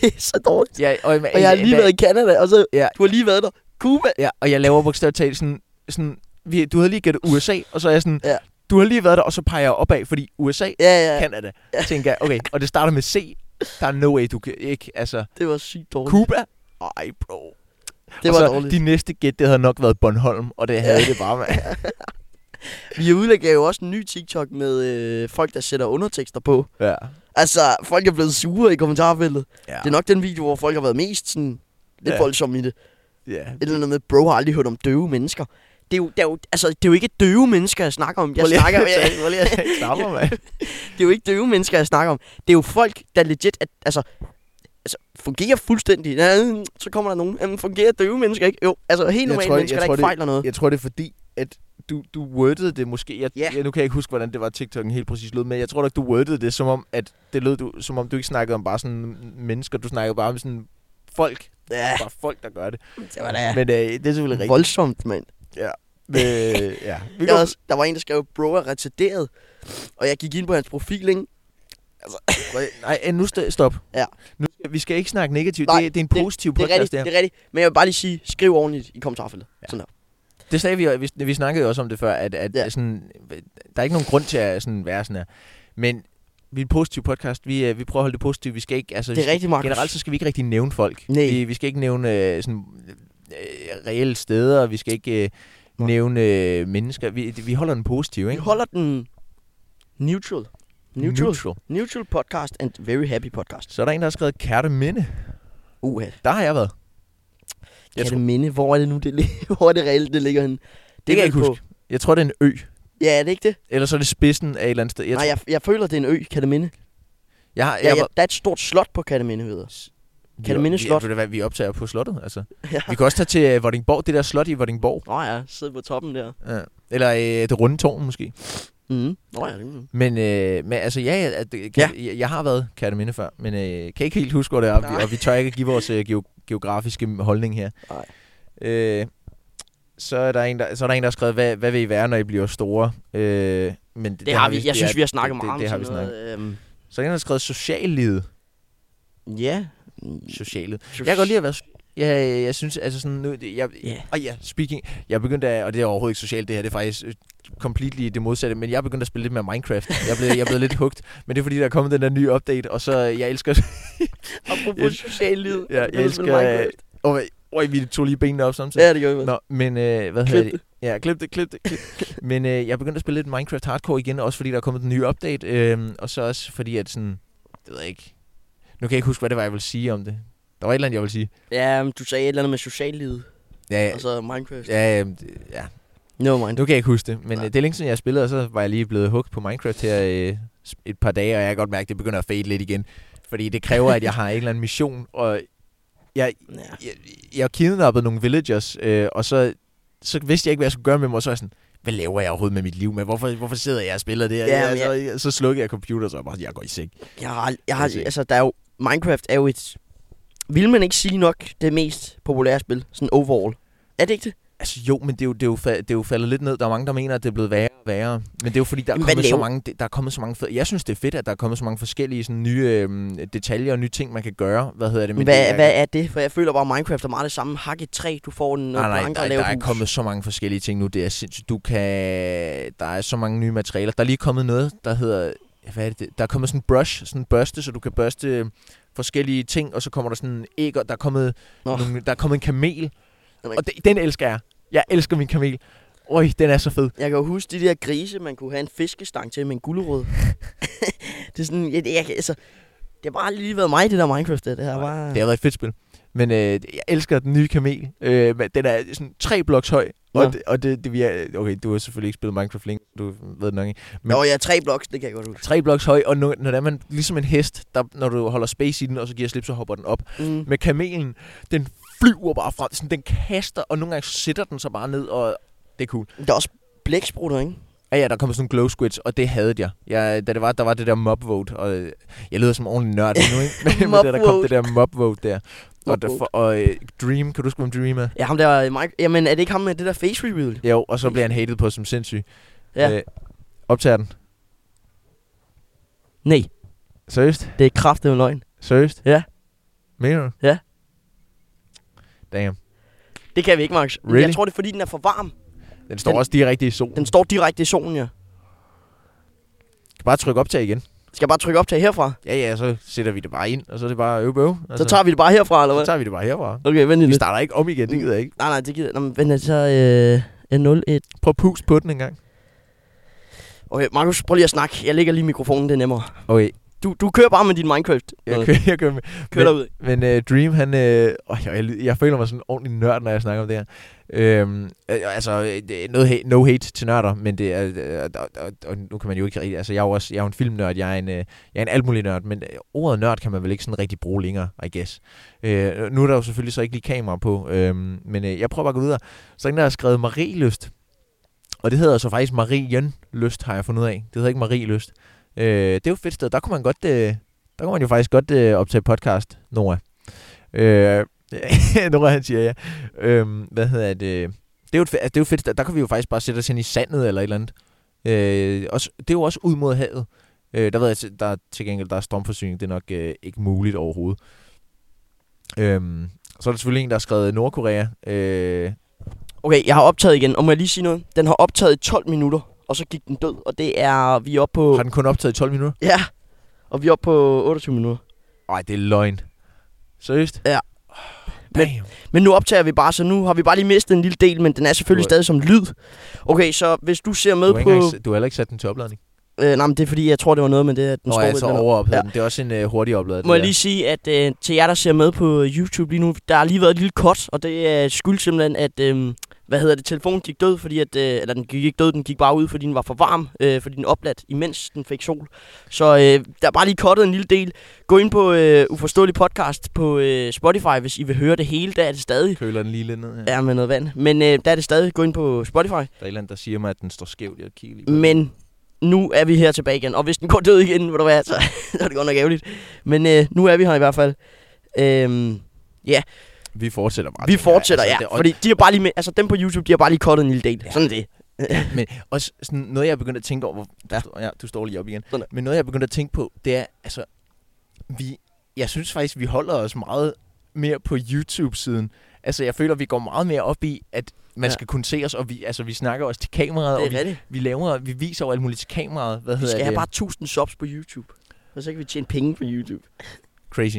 Det er så dårligt. Ja, og, Og jeg har lige været i Canada, og så... Ja. Ja. Du har lige været der. Cuba. Ja, og jeg laver bogstaveligt talt sådan... sådan vi, du havde lige gættet USA, og så er jeg sådan... Ja. Ja. Du har lige været der, og så peger jeg opad, fordi USA, Ja, ja. ja. Canada, tænker jeg, okay, og det starter med C. Der er no way, du kan ikke, altså... Det var sygt dårligt. Cuba? Ej, bro. Det Og var så dårligt. De næste gæt, det havde nok været Bornholm, og det havde det bare, man. Vi udlægger jo også en ny TikTok med øh, folk, der sætter undertekster på. Ja. Altså, folk er blevet sure i kommentarfeltet. Ja. ja. Det er nok den video, hvor folk har været mest sådan, lidt Ja. ja. voldsomme i det. Ja. Et eller andet med, bro har aldrig hørt om døve mennesker. Det er jo, det er jo, altså, det er jo ikke døve mennesker, jeg snakker om. Jeg snakker, jeg, Prøv lige at tage knapper, mand. det er jo ikke døve mennesker, jeg snakker om. Det er jo folk, der legit er, altså, altså, fungerer fuldstændig. Ja, mm, så kommer der nogen. Jamen, fungerer døve mennesker ikke? Jo, altså helt normale tror, mennesker, jeg der tror, ikke det- fejler noget. Jeg tror, det er fordi, at du, du wordede det måske. Jeg, Ja. jeg, nu kan jeg ikke huske, hvordan det var, TikTok'en helt præcis lød, men jeg tror nok, du wordede det, som om, at det lød du, som om du ikke snakkede om bare sådan mennesker. Du snakkede bare om sådan folk. Ja, Bare folk, der gør det. det var da Men øh, det er selvfølgelig rigtigt. voldsomt, mand. Men, øh, ja. Vi Jeg går, var, også- der var en, der skrev, bro er retarderet. Og jeg gik ind på hans profil, ikke? nej, øh, nu st- stop. Ja. Nu, vi skal ikke snakke negativt. Nej, det, det, er en positiv Det er podcast, rigtigt, det, her. det er rigtigt. Men jeg vil bare lige sige, skriv ordentligt i kommentarfeltet. Ja. Ja. Sådan der. Det sagde vi, jo- vi, vi snakkede jo også om det før, at, at ja. Ja. sådan, der er ikke nogen grund til at sådan være sådan her. Men vi er en positiv podcast, vi, øh, vi prøver at holde det positivt. Vi skal ikke, altså, Det er vi skal, rigtigt, Markus. Generelt så skal vi ikke rigtig nævne folk. Nej. Vi, vi skal ikke nævne øh, sådan, øh, reelle steder, og vi skal ikke øh, Nej. nævne øh, mennesker. Vi, vi holder den positiv, Vi ikke? holder den neutral. Neutral. Neutral. Neutral podcast and very happy podcast. Så er der en, der har skrevet Kærteminde. Uha. Der har jeg været. Jeg Jeg kan tror- det minde, hvor er det nu, det ligger? hvor er det reelt, det ligger henne? Det, det kan jeg vel ikke huske. Jeg tror, det er en ø. Ja, er det ikke det? Eller så er det spidsen af et eller andet sted. Jeg, Jeg Nej, tror, jeg, jeg føler, det er en ø, kan det minde? jeg, har, jeg, Ja, jeg, ja, der er et stort slot på Kataminde, ved jeg. Kerteminde vi, Slot. Vi, ved du hvad, vi optager på slottet, altså. Ja. Vi kan også tage til øh, Vordingborg, det der slot i Vordingborg. Nå ja, sidde på toppen der. Ja. Eller øh, det runde tårn måske. Mm-hmm. Mm. Nå ja, det er Men, øh, men altså, ja, jeg, at, kan, ja. Jeg, jeg har været Kærteminde før, men øh, kan ikke helt huske, hvor det er. Nej. Og vi tør ikke at give vores øh, geo- geografiske holdning her. Nej. Øh, så, er der en, der, så er der en, der har skrevet, hvad, hvad vil I være, når I bliver store? Øh, men det, har vi. Jeg det synes, er- vi har snakket det, meget om det, det har vi sådan snakket. noget. Øhm, Så er der en, der har skrevet sociallivet. ja. Socialet. Jeg kan godt lide at være... Ja, jeg synes, altså sådan nu... det- Jeg, Ja. Og ja, speaking... Jeg begyndte at... Og det er overhovedet ikke socialt, det her. Det er faktisk øh, completely det modsatte. Men jeg begyndte at spille lidt mere Minecraft. Jeg blev, jeg blev lidt hugt. Men det er fordi, der er kommet den der nye update. Og så... øh, Jeg elsker... Apropos sociallivet. Ja, jeg Vil du spille elsker, øh, Minecraft? Og, og vi tog lige benene op samtidig. Ja, det gør vi. Nå, men øh, hvad Klip hedder det? Ja, klip det, klip det, klip. Men øh, jeg begyndte at spille lidt Minecraft Hardcore igen, også fordi der er kommet den nye update, øh, og så også fordi, at sådan, det ved jeg ikke, nu kan jeg ikke huske, hvad det var, jeg ville sige om det. Der var et eller andet, jeg ville sige. Ja, men du sagde et eller andet med sociallivet, Ja, ja, og så Minecraft. ja, øh, det- ja. No mind. nu kan jeg ikke huske det, men Nej. øh, det er længe siden, jeg har spillet, og så var jeg lige blevet hooked på Minecraft her øh, s- et par dage, og jeg kan godt mærke, at det begynder at fade lidt igen. Fordi det kræver, at jeg har en eller anden mission, og jeg, Ja. jeg, jeg kidnappede nogle villagers, øh, og så, så vidste jeg ikke, hvad jeg skulle gøre med dem, og så var jeg sådan, hvad laver jeg overhovedet med mit liv? Men hvorfor, hvorfor sidder jeg og spiller det her? Ja, Ja, men så, jeg... så slukkede jeg computer, og så var jeg bare, sådan, jeg går i seng. Jeg har, ald- jeg har, Kan vi se. altså, der er jo, Minecraft er jo et, vil man ikke sige nok, det mest populære spil, sådan overall. Er det ikke det? Altså jo, men det er jo, det, er jo, fa- det er jo faldet lidt ned. Der er mange, der mener, at det er blevet værre og værre. Men det er jo fordi, der er, Jamen, hvad kommet så laver- mange, det- der er kommet så mange fede... Jeg synes, det er fedt, at der er kommet så mange forskellige sådan, nye øhm, detaljer og nye ting, man kan gøre. Hvad hedder det? Men Men hvad, det er, hvad er det? For jeg føler bare, at Minecraft er meget det samme. Hak et træ, du får en Nej, nej, planker der, og der lave er et hus. kommet så mange forskellige ting nu. Det er sindssygt. Du kan... Der er så mange nye materialer. Der er lige kommet noget, der hedder... Hvad er det, det? Der er kommet sådan en brush, sådan en børste, så du kan børste forskellige ting, og så kommer der sådan en æg, og der er kommet, Nå. nogle, der er kommet en kamel. Jamen, Og det, den elsker jeg. Jeg elsker min kamel. Øj, den er så fed. Jeg kan jo huske de der grise, man kunne have en fiskestang til med en gulerod. det er sådan, jeg, jeg, altså, det har bare lige været mig, det der Minecraft, det, det her bare... Det har været et fedt spil. Men øh, jeg elsker den nye kamel. Øh, men den er sådan tre bloks høj. Nå. Og, det, og det, det, vi er, okay, du har selvfølgelig ikke spillet Minecraft længe. Du ved det nok ikke. men- Nå, jeg er tre bloks, det kan jeg godt huske. Tre bloks høj, og nu, når det er man ligesom en hest, der, når du holder space i den, og så giver slip, så hopper den op. Mm. Med kamelen, den flyver bare frem. Sådan, den kaster, og nogle gange så sætter den sig bare ned, og det er cool. Der er også blæksprutter, ikke? Ja, ja, der kom sådan nogle glow squids, og det havde jeg. jeg da det var, der var det der mob vote, og øh, jeg lyder som en ordentlig nørd nu, ikke? Men, men Mob da der kom vote. det der mob vote der. Og, Mob der, vote. for, og øh, Dream, kan du huske, hvem Dream er? Ja, ham der... øh, Mike, jamen, er det ikke ham med det der face reveal? Jo, og så bliver han hated på som sindssyg. Ja. Øh, optager den. Nej, Seriøst? det er kraftet løgn. Seriøst? Ja. Mener du? Ja. Damn. Det kan vi ikke, Max. Really? Really? Jeg tror, det er, fordi den er for varm. Den står Den- den, også direkte i solen. Den står direkte i solen, ja. Kan bare trykke optag igen. Skal jeg bare trykke optag herfra? Ja, ja, så sætter vi det bare ind, og så er det bare øv, øv. Så tager vi det bare herfra, eller Altså- så hvad? tager vi det bare herfra. Okay, vent lige Vi lidt. starter ikke om igen, det gider jeg ikke. Nej, nej, det gider... Nå, men vent lidt, så... Øh, en 0 1. Prøv at pus på den en gang. Okay, Markus, prøv lige at snakke. Jeg lægger lige mikrofonen, det er nemmere. Okay, Du, du kører bare med din Minecraft. øh, jeg kører, jeg kører med. kører derud. Men øh, Dream, han... Øh, åh, jeg, jeg, ly- jeg føler mig sådan en ordentlig nørd, når jeg snakker om det her. Øhm, øh, altså, øh, det er noget hate, no hate til nørder, men det er... Øh, og, og, og, nu kan man jo ikke rigtig... Altså, jeg er jo også jeg er jo en filmnørd, jeg er en, øh, jeg er en alt mulig nørd, men øh, ordet nørd kan man vel ikke sådan rigtig bruge længere, I guess. Øh, nu er der jo selvfølgelig så ikke lige kamera på, øh, men øh, jeg prøver bare at gå videre. Så er en, der har skrevet Marie Lyst. Og det hedder så faktisk Marien Lyst, har jeg fundet ud af. Det hedder ikke Marie Lyst. Øh, det er jo et fedt sted. Der kunne man godt... Øh, der kunne man jo faktisk godt øh, optage podcast, Nora. Øh, Nora han siger ja. Øh, hvad hedder det? Det er jo et, fe- altså, det er jo et fedt sted. Der kan vi jo faktisk bare sætte os hen i sandet eller et eller andet. Øh, også, det er jo også ud mod havet. Øh, der ved jeg, til- der er til gengæld der er strømforsyning. Det er nok øh, ikke muligt overhovedet. Øh, så er der selvfølgelig en, der har skrevet Nordkorea. Øh, Okay, jeg har optaget igen, og må jeg lige sige noget? Den har optaget i 12 minutter, og så gik den død, og det er, vi er oppe på... har den kun optaget i 12 minutter? Ja, og vi er oppe på 28 minutter. Nej, det er løgn. Seriøst? Ja. Men, Men nu optager vi bare, så nu har vi bare lige mistet en lille del, men den er selvfølgelig Du er- stadig som lyd. Okay, så hvis du ser med du, har på... ikke engang, s- du har heller ikke sat den til opladning. Øh, nej, men det er fordi, jeg tror, det var noget med det, at den Nå, står jeg ved så den her. overophedet Ja. ja. den. Det er også en øh, hurtig opladet. Må jeg lige sige, at øh, til jer, der ser med på YouTube lige nu, der har lige været et lille cut, og det øh, skyldes simpelthen, at... Øh, hvad hedder det, telefonen gik død, fordi at, øh, eller den gik ikke død, den gik bare ud, fordi den var for varm, øh, fordi den opladt, imens den fik sol. Så øh, der er bare lige kottet en lille del. Gå ind på øh, Uforståelig Podcast på øh, Spotify, hvis I vil høre det hele, der er det stadig. Køler den lige lidt ned her. Ja. Ja, med noget vand. Men øh, der er det stadig. Gå ind på Spotify. Der er et eller andet, der siger mig, at den står skævt. Jeg kigger lige på den. Men nu er vi her tilbage igen. Og hvis den går død igen, ved du hvad, så, så er det godt nok ærgerligt. Men øh, nu er vi her i hvert fald. Øhm, Vi fortsætter bare. vi tænker jeg. fortsætter, ja. altså. det er også- Fordi de har bare lige med, altså dem på YouTube, de har bare lige kottet en lille del. Ja. Sådan er det. Men også sådan noget, jeg er begyndt at tænke over... Hvor, ja. ja. du står lige op igen. Sådan der. Men noget, jeg er begyndt at tænke på, det er, altså... Vi, jeg synes faktisk, vi holder os meget mere på YouTube-siden. Altså, jeg føler, vi går meget mere op i, at man Ja. ja. skal kunne se os, og vi, altså, vi snakker også til kameraet, og Det vi, er rigtigt. vi, laver, vi viser jo alt muligt til kameraet. Hvad Vi hedder skal det? have bare 1000 subs på YouTube. Og så kan vi tjene penge på YouTube. Crazy.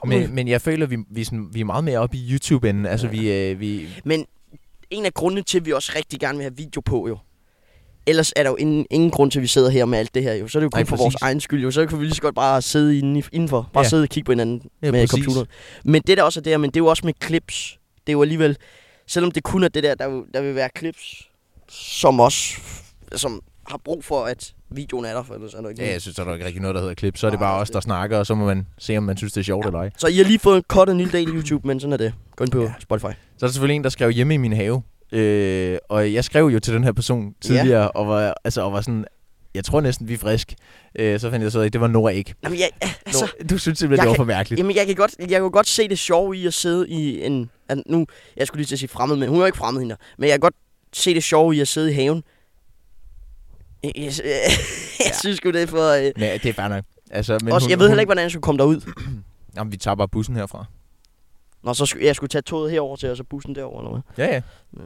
Kom nu. Men, men jeg føler, vi, vi, er sådan, vi er meget mere oppe i YouTube-enden. Altså, Ja. vi, øh, vi, Men en af grundene til, at vi også rigtig gerne vil have video på, jo. Ellers er der jo ingen, ingen grund til, at vi sidder her med alt det her, jo. Så er det jo kun Nej, for præcis. vores egen skyld, jo. Så kan vi lige så godt bare sidde inde i- indenfor. Bare Ja. ja. sidde og kigge på hinanden Ja, ja, med præcis. computeren. Men det der også er der, men det er jo også med clips. Det er jo alligevel, selvom det kun er det der, der, vil- der vil være clips, som også, som har brug for, at videoen er der, for ellers er der ikke Ja, noget. jeg synes, der er nok ikke rigtig noget, der hedder klip. Så er det Nej, bare det- os, der snakker, og så må man se, om man synes, det er sjovt ja. eller ej. Så I har lige fået en kort en lille del i YouTube, men sådan er det. Gå ind på Ja. ja. Spotify. Så er der selvfølgelig en, der skrev hjemme i min have. Øh, og jeg skrev jo til den her person tidligere, ja. og, var, altså, og var sådan, jeg tror næsten, vi er frisk. Øh, så fandt jeg så ud af, at det var Nora ikke. Jamen, jeg, altså, Nora, du synes simpelthen, jeg det var kan- for mærkeligt. Jamen, jeg kan godt, jeg kan godt se det sjove i at sidde i en... At nu, jeg skulle lige til at sige fremmed, men hun er jo ikke fremmed hende. Men jeg kan godt se det sjove i at sidde i haven. Jeg, jeg, jeg, jeg synes sgu, det er for... Øh, Ja, det er fair nok. Altså, men også, hun, jeg ved hun, heller ikke, hvordan jeg skulle komme derud. Jamen, vi tager bare bussen herfra. Nå, så skulle, jeg skulle tage toget herover til, og så bussen derover eller hvad? Ja, ja. Mm.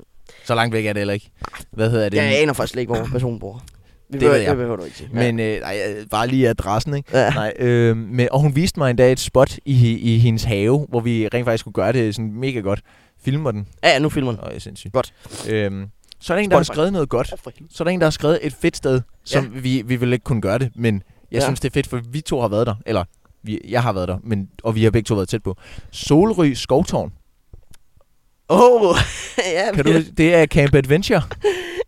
Så langt væk er det heller ikke. Hvad hedder det? Jeg aner faktisk slet ikke, hvor personen bor. Vi det ved jeg. Det behøver du ikke sige. Men øh, nej, øh, bare lige adressen, ikke? ja. Nej, øh, men, og hun viste mig endda et spot i, i hendes have, hvor vi rent faktisk kunne gøre det sådan mega godt. Filmer den. Ja. ja, nu filmer den. Åh, jeg er sindssygt. Godt. Øhm, så er der en, der har Spotify. skrevet noget godt. Åh, for helvede. Så er der en, der har skrevet et fedt sted, som ja. vi, vi vil ikke kunne gøre det, men jeg ja. Ja. synes, det er fedt, for vi to har været der. Eller, vi, jeg har været der, men, og vi har begge to været tæt på. Solry Skovtårn. Åh, ja, Kan du, det er Camp Adventure.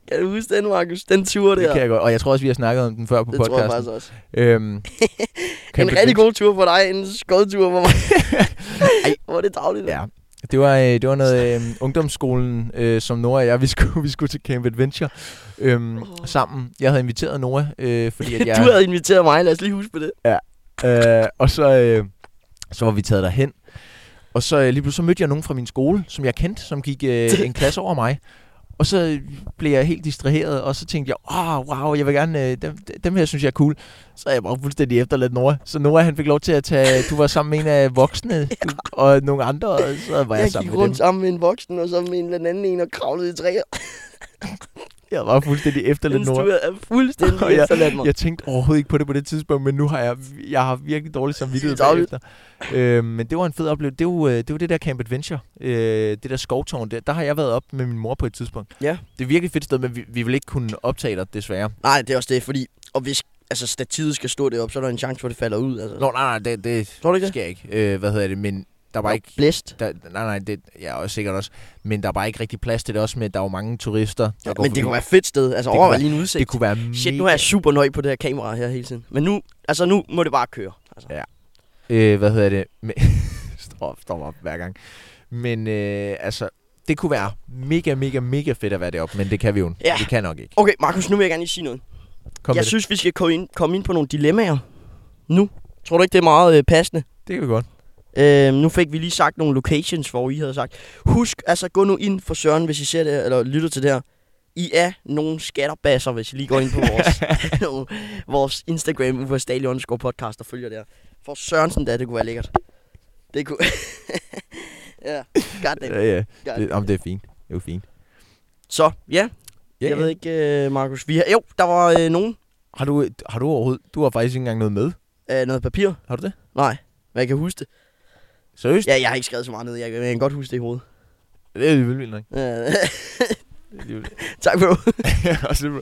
kan du huske den, Markus? Den tur der. Det kan jeg godt. Og jeg tror også, vi har snakket om den før på det tror jeg podcasten. faktisk også. Øhm, Camp en rigtig Adventure- god tur for dig, en skodtur for mig. Ej, hvor er det dagligt. Ja. Det var, øh, det var noget øh, ungdomsskolen, øh, som Nora og jeg, vi skulle, vi skulle til Camp Adventure øhm, oh. Åh. sammen. Jeg havde inviteret Nora, øh, fordi at jeg... Du havde inviteret mig, lad os lige huske på det. Øh, og så, øh, så var vi taget derhen. Og så øh, lige pludselig så mødte jeg nogen fra min skole, som jeg kendte, som gik øh, en klasse over mig. Og så øh, blev jeg helt distraheret, og så tænkte jeg, oh, wow, jeg vil gerne, øh, dem, dem her synes jeg er cool. Så er jeg bare fuldstændig efterladt Nora. Så Nora han fik lov til at tage, du var sammen med en af voksne du, og nogle andre, og så var jeg, jeg sammen gik med dem. rundt sammen med en voksen, og så med en eller anden en, og kravlede i træer. Jeg var fuldstændig Den efterladt Nora. tur er fuldstændig Og jeg- efterladt mig. Jeg tænkte overhovedet ikke på det på det tidspunkt, men nu har jeg, jeg har virkelig dårlig samvittighed Det er dårligt. bagefter. Øh, men det var en fed oplevelse. Det var, det var det der Camp Adventure, øh, det der skovtårn der. Der har jeg været op med min mor på et tidspunkt. Ja. Det er virkelig fedt sted, men vi, vi vil ikke kunne optage dig, desværre. Nej, det er også det, fordi... Og hvis altså, stativet skal stå deroppe, så er der en chance for, at det falder ud. Altså. Nå, nej, nej, det, det Tror du ikke det? sker ikke. Øh, hvad hedder det? Men der var ikke... Blæst. Der, nej, nej, det ja, og sikkert også. Men der var ikke rigtig plads til det også med, at der var mange turister. Der Ja, går men forbi. det kunne være et fedt sted. Altså, Det kunne overvej være- lige en udsigt. det kunne være Shit, mega nu er jeg super nøj på det her kamera her hele tiden. Men nu, altså nu må det bare køre. Altså. øh, hvad hedder det, med, stop, stop op hver gang. Men øh, altså, det kunne være mega, mega, mega fedt at være deroppe, men det kan vi jo. Ja. Vi kan nok ikke. Okay, Markus, nu vil jeg gerne lige sige noget. Kom jeg med synes, vi skal komme ind, komme ind på nogle dilemmaer nu. Tror du ikke, det er meget øh, passende? det. det kan vi godt. Øh, nu fik vi lige sagt nogle locations, hvor I havde sagt. Husk, altså gå nu ind for Søren, hvis I ser det, her, eller lytter til det her. I er nogle skatterbasser, hvis I lige går ind på vores, nogle- vores Instagram, uforståelig underscore podcast, og følger der. For Sørensen da, det kunne være lækkert. Det kunne... ja, goddamn. Ja, ja. goddamn. Øh, Det, om det er fint. Det er jo fint. Så, ja, Ja, jeg ja. ved ikke, øh, Markus. Vi har, jo, der var øh, nogen. Har du, har du overhovedet... Du har faktisk ikke engang noget med. Øh, noget papir. Har du det? Nej, men jeg kan huske det. Seriøst? Ja, jeg har ikke skrevet så meget ned. Jeg, kan- jeg kan godt huske det i hovedet. Det er jo vildt vildt nok. Øh, Det er alligevel- tak for det. Og så- Åh,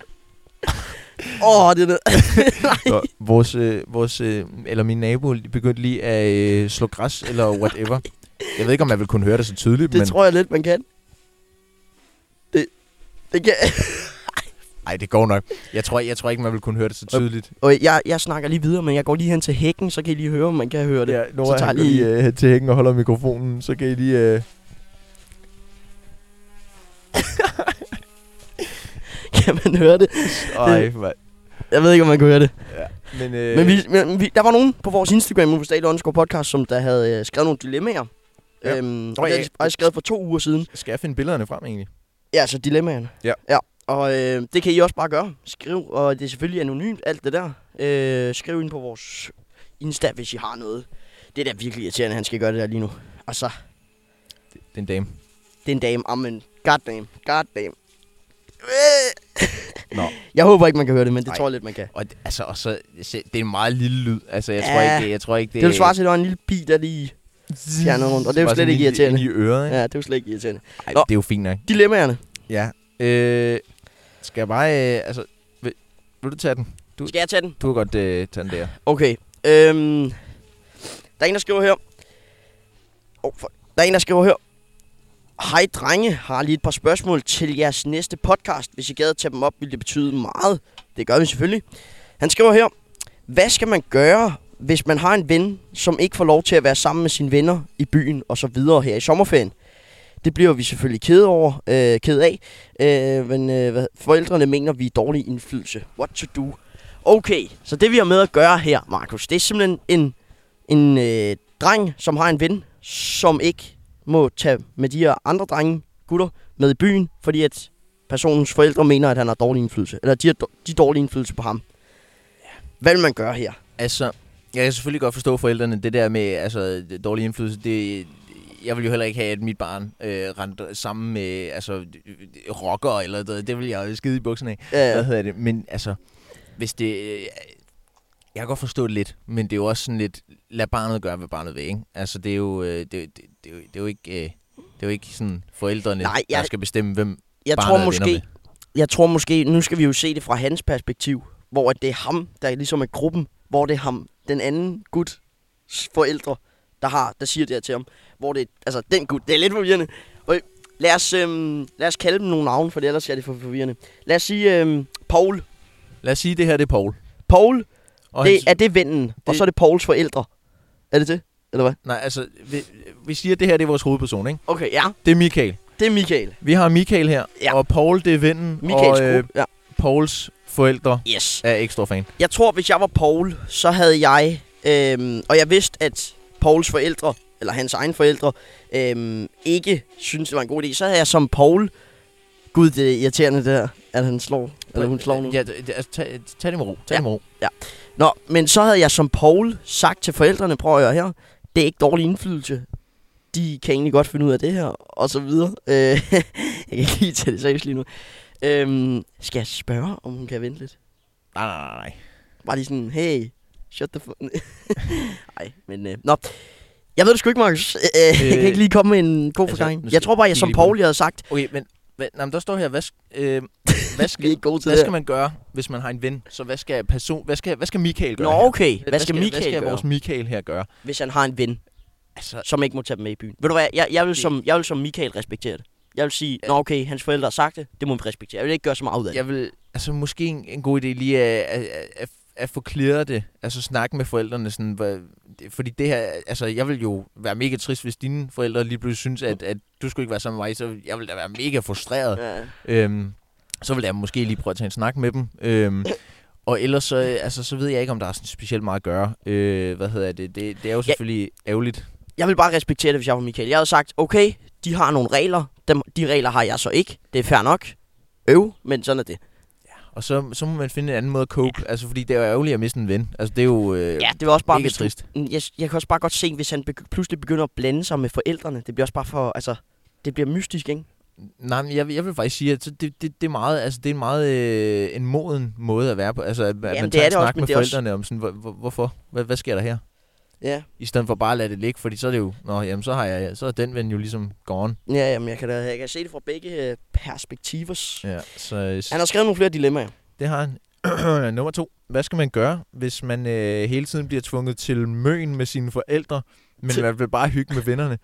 Mm. oh, det er noget. Nå, vores, øh, vores øh, eller min nabo begyndte lige at øh, slå græs eller whatever. Jeg ved ikke, om man vil kunne høre det så Det tydeligt, men... Men... tror jeg lidt, man kan. Det, det kan... Ej, det går nok. Jeg tror, jeg tror ikke, man vil kunne høre det så tydeligt. Okay, jeg, jeg snakker lige videre, men jeg går lige hen til hækken, så kan I lige høre, om man kan høre det. Ja, Nora, Så tager han jeg går lige- lige øh, hen til hækken og holder mikrofonen, så kan I lige... Øh... Kan man høre det? Ej, mand. Jeg ved ikke, om man kan høre det. Men, øh, Men, vi, men vi, der var nogen på vores Instagram, Universitet Underscore Podcast, som der havde øh, skrevet nogle dilemmaer. Ja. Ja. Øhm, og det jeg- havde de faktisk skrevet for to uger siden. Skal jeg finde billederne frem egentlig? Ja, så dilemmaerne. Ja. ja. Og øh, det kan I også bare gøre. Skriv, og det er selvfølgelig anonymt, alt det der. Øh, skriv ind på vores Insta, hvis I har noget. Det er da virkelig irriterende, at han skal gøre det der lige nu. Og så Den dame. Det er en dame. Amen. Goddamn. Goddamn. Nå. Jeg håber ikke, man kan høre det, men det Nej. tror jeg lidt, man kan. Og det- altså, og så, se, det er en meget lille lyd. Altså, jeg, ja. Ja. tror ikke, jeg tror ikke, det Det vil svare til, at der var en lille bi, der lige fjernet rundt, og det er jo Bare slet sådan ikke lige irriterende. Ind i øret, ikke? Ja, det er jo slet ikke irriterende. Ej, Nå. det er jo fint nok. Dilemmaerne. Ja. Øh, skal jeg bare... Øh, altså, vil, vil du tage den? Skal jeg tage den? Du kan godt øh, tage den der. Okay. Øhm, der er en, der skriver her. Oh, for, der er en, der skriver her. Hej drenge, har lige et par spørgsmål til jeres næste podcast. Hvis I gad at tage dem op, ville det betyde meget. Det gør vi selvfølgelig. Han skriver her. Hvad skal man gøre, hvis man har en ven, som ikke får lov til at være sammen med sine venner i byen og så videre her i sommerferien? Det bliver vi selvfølgelig ked, over, øh, ked af, øh, men øh, hvad- forældrene mener, vi er dårlig indflydelse. What to do? Okay, så det vi har med at gøre her, Markus, det er simpelthen en, en øh, dreng, som har en ven, som ikke må tage med de her andre drenge, gutter, med i byen, fordi at personens forældre mener, at han har dårlig indflydelse. Eller de har dår- de har dårlig indflydelse på ham. Hvad vil man gøre her? Øh, Altså, jeg kan selvfølgelig godt forstå forældrene. Det der med altså, dårlig indflydelse, det, jeg vil jo heller ikke have, at mit barn øh, rendte sammen med altså, rocker eller noget. Det vil jeg jo skide i bukserne af. Ja. Hvad Øh, hedder det? Men altså, hvis det... øh, Jeg kan godt forstå det lidt, men det er jo også sådan lidt, lad barnet gøre, hvad barnet vil, ikke? Altså, det er jo, øh, det, det, det, er jo- det er jo ikke... øh, Det er jo ikke sådan forældrene, Nej, Nej, jeg- jeg... der skal bestemme, hvem jeg barnet tror er venner måske, jeg tror måske, nu skal vi jo se det fra hans perspektiv, hvor at det er ham, der ligesom er gruppen, hvor det er ham, den anden guts forældre, der har, der siger det her til ham, hvor det, altså den gut, det er lidt forvirrende. Og lad os, øhm, lad os kalde dem nogle navne, for ellers er det for forvirrende. Lad os sige øhm, Paul. Lad os sige, at det her det er Paul. Paul, Og det, hans- er det vennen, det... og det- så er det Pauls forældre. Er det det? Eller hvad? Nej, altså, vi, vi siger, at det her det er vores hovedperson, ikke? Okay, ja. Det er Michael. Det er Michael. Vi har Michael her, Ja. ja. og Paul, det er vennen, Michaels og øh, gruppe, ja. Pauls forældre Yes. er ikke stor fan. Jeg tror, hvis jeg var Paul, så havde jeg... Øhm, og jeg vidste, at Pauls forældre, eller hans egne forældre, øhm, ikke syntes, det var en god idé. Så havde jeg som Paul... Gud, det er irriterende det her, at han slår, eller hun slår nu. Ja, det- det- altså, tag, tag det med ro. Ja. Tag ja. det med ro. Nå, men så havde jeg som Paul sagt til forældrene, prøv at høre her, det er ikke dårlig indflydelse. De kan egentlig godt finde ud af det her, og så videre. Øh, jeg kan ikke lige tage det seriøst lige nu. Øhm, skal jeg spørge, om hun kan vente lidt? Nej, nej, nej, nej. Bare lige sådan, hey, shut the fuck... Nej, men... Øh, nå. Jeg ved det sgu ikke, Markus. Øh, øh, jeg kan Øh, ikke lige komme med en god altså, forklaring. nu jeg skal tror bare, jeg vi som lige Paul, jeg havde sagt, Okay, men hvad, nej, men der står her, hvad, sk- øh, hvad, vi er skal, ikke gode til hvad det skal her. man gøre, hvis man har en ven? Så hvad skal, person, hvad skal, hvad skal Michael Nå, gøre her? okay. Hvad skal hvad Michael skal gøre, vores Michael her gøre? hvis han har en ven, Altså, som ikke må tage dem med i byen? Ved du hvad, jeg, jeg, vil, som, jeg vil som Michael respektere det. Jeg vil sige, nå okay, hans forældre har sagt det, det må vi respektere. Jeg vil ikke gøre så meget ud af det. jeg vil, altså måske en, en god idé lige at, at, at, at få klaret det. Altså snakke med forældrene. Sådan, hvad, det- fordi det her, altså jeg vil jo være mega trist, hvis dine forældre lige pludselig synes, at, at du skulle ikke være sammen med mig. Så jeg vil da være mega frustreret. Ja. Øhm, så vil jeg måske lige prøve at tage en snak med dem. Øhm, og ellers så, øh, altså, så ved jeg ikke, om der er sådan specielt meget at gøre. Øh, hvad hedder det? det? Det er jo selvfølgelig ja. ærgerligt. Jeg vil bare respektere det, hvis jeg var Michael. Jeg havde sagt, okay, de har nogle regler. Dem, de regler har jeg så ikke. Det er fair nok. Øv, men sådan er det. Og så, så må man finde en anden måde at cope. Ja. Altså, fordi det er jo ærgerligt at miste en ven. Altså, det er jo... Øh, Ja, det var også bare, mega hvis du- trist. Mm, Jeg, jeg kan også bare godt se, hvis han begy- pludselig begynder at blande sig med forældrene. Det bliver også bare for, altså, det bliver mystisk, ikke? Nej, men jeg, vil- jeg vil faktisk sige, at så det, det, det er meget, altså, det er en meget øh, en moden måde at være på. Altså, at, at Jamen, man det tager er en det også, snak men med det er også- forældrene om sådan, hvor, hvor, hvorfor? Hvad, hvad sker der her? Ja. I stedet for bare at lade det ligge, fordi så er det jo... Nå, jamen, så, har jeg, så er den ven jo ligesom gone. Ja, jamen, jeg kan, da, jeg kan se det fra begge øh, perspektiver. Ja, så, øh, Han har skrevet nogle flere dilemmaer. Det har han. Nummer to. Hvad skal man gøre, hvis man øh, hele tiden bliver tvunget til møen med sine forældre, men Til- man vil bare hygge med vennerne?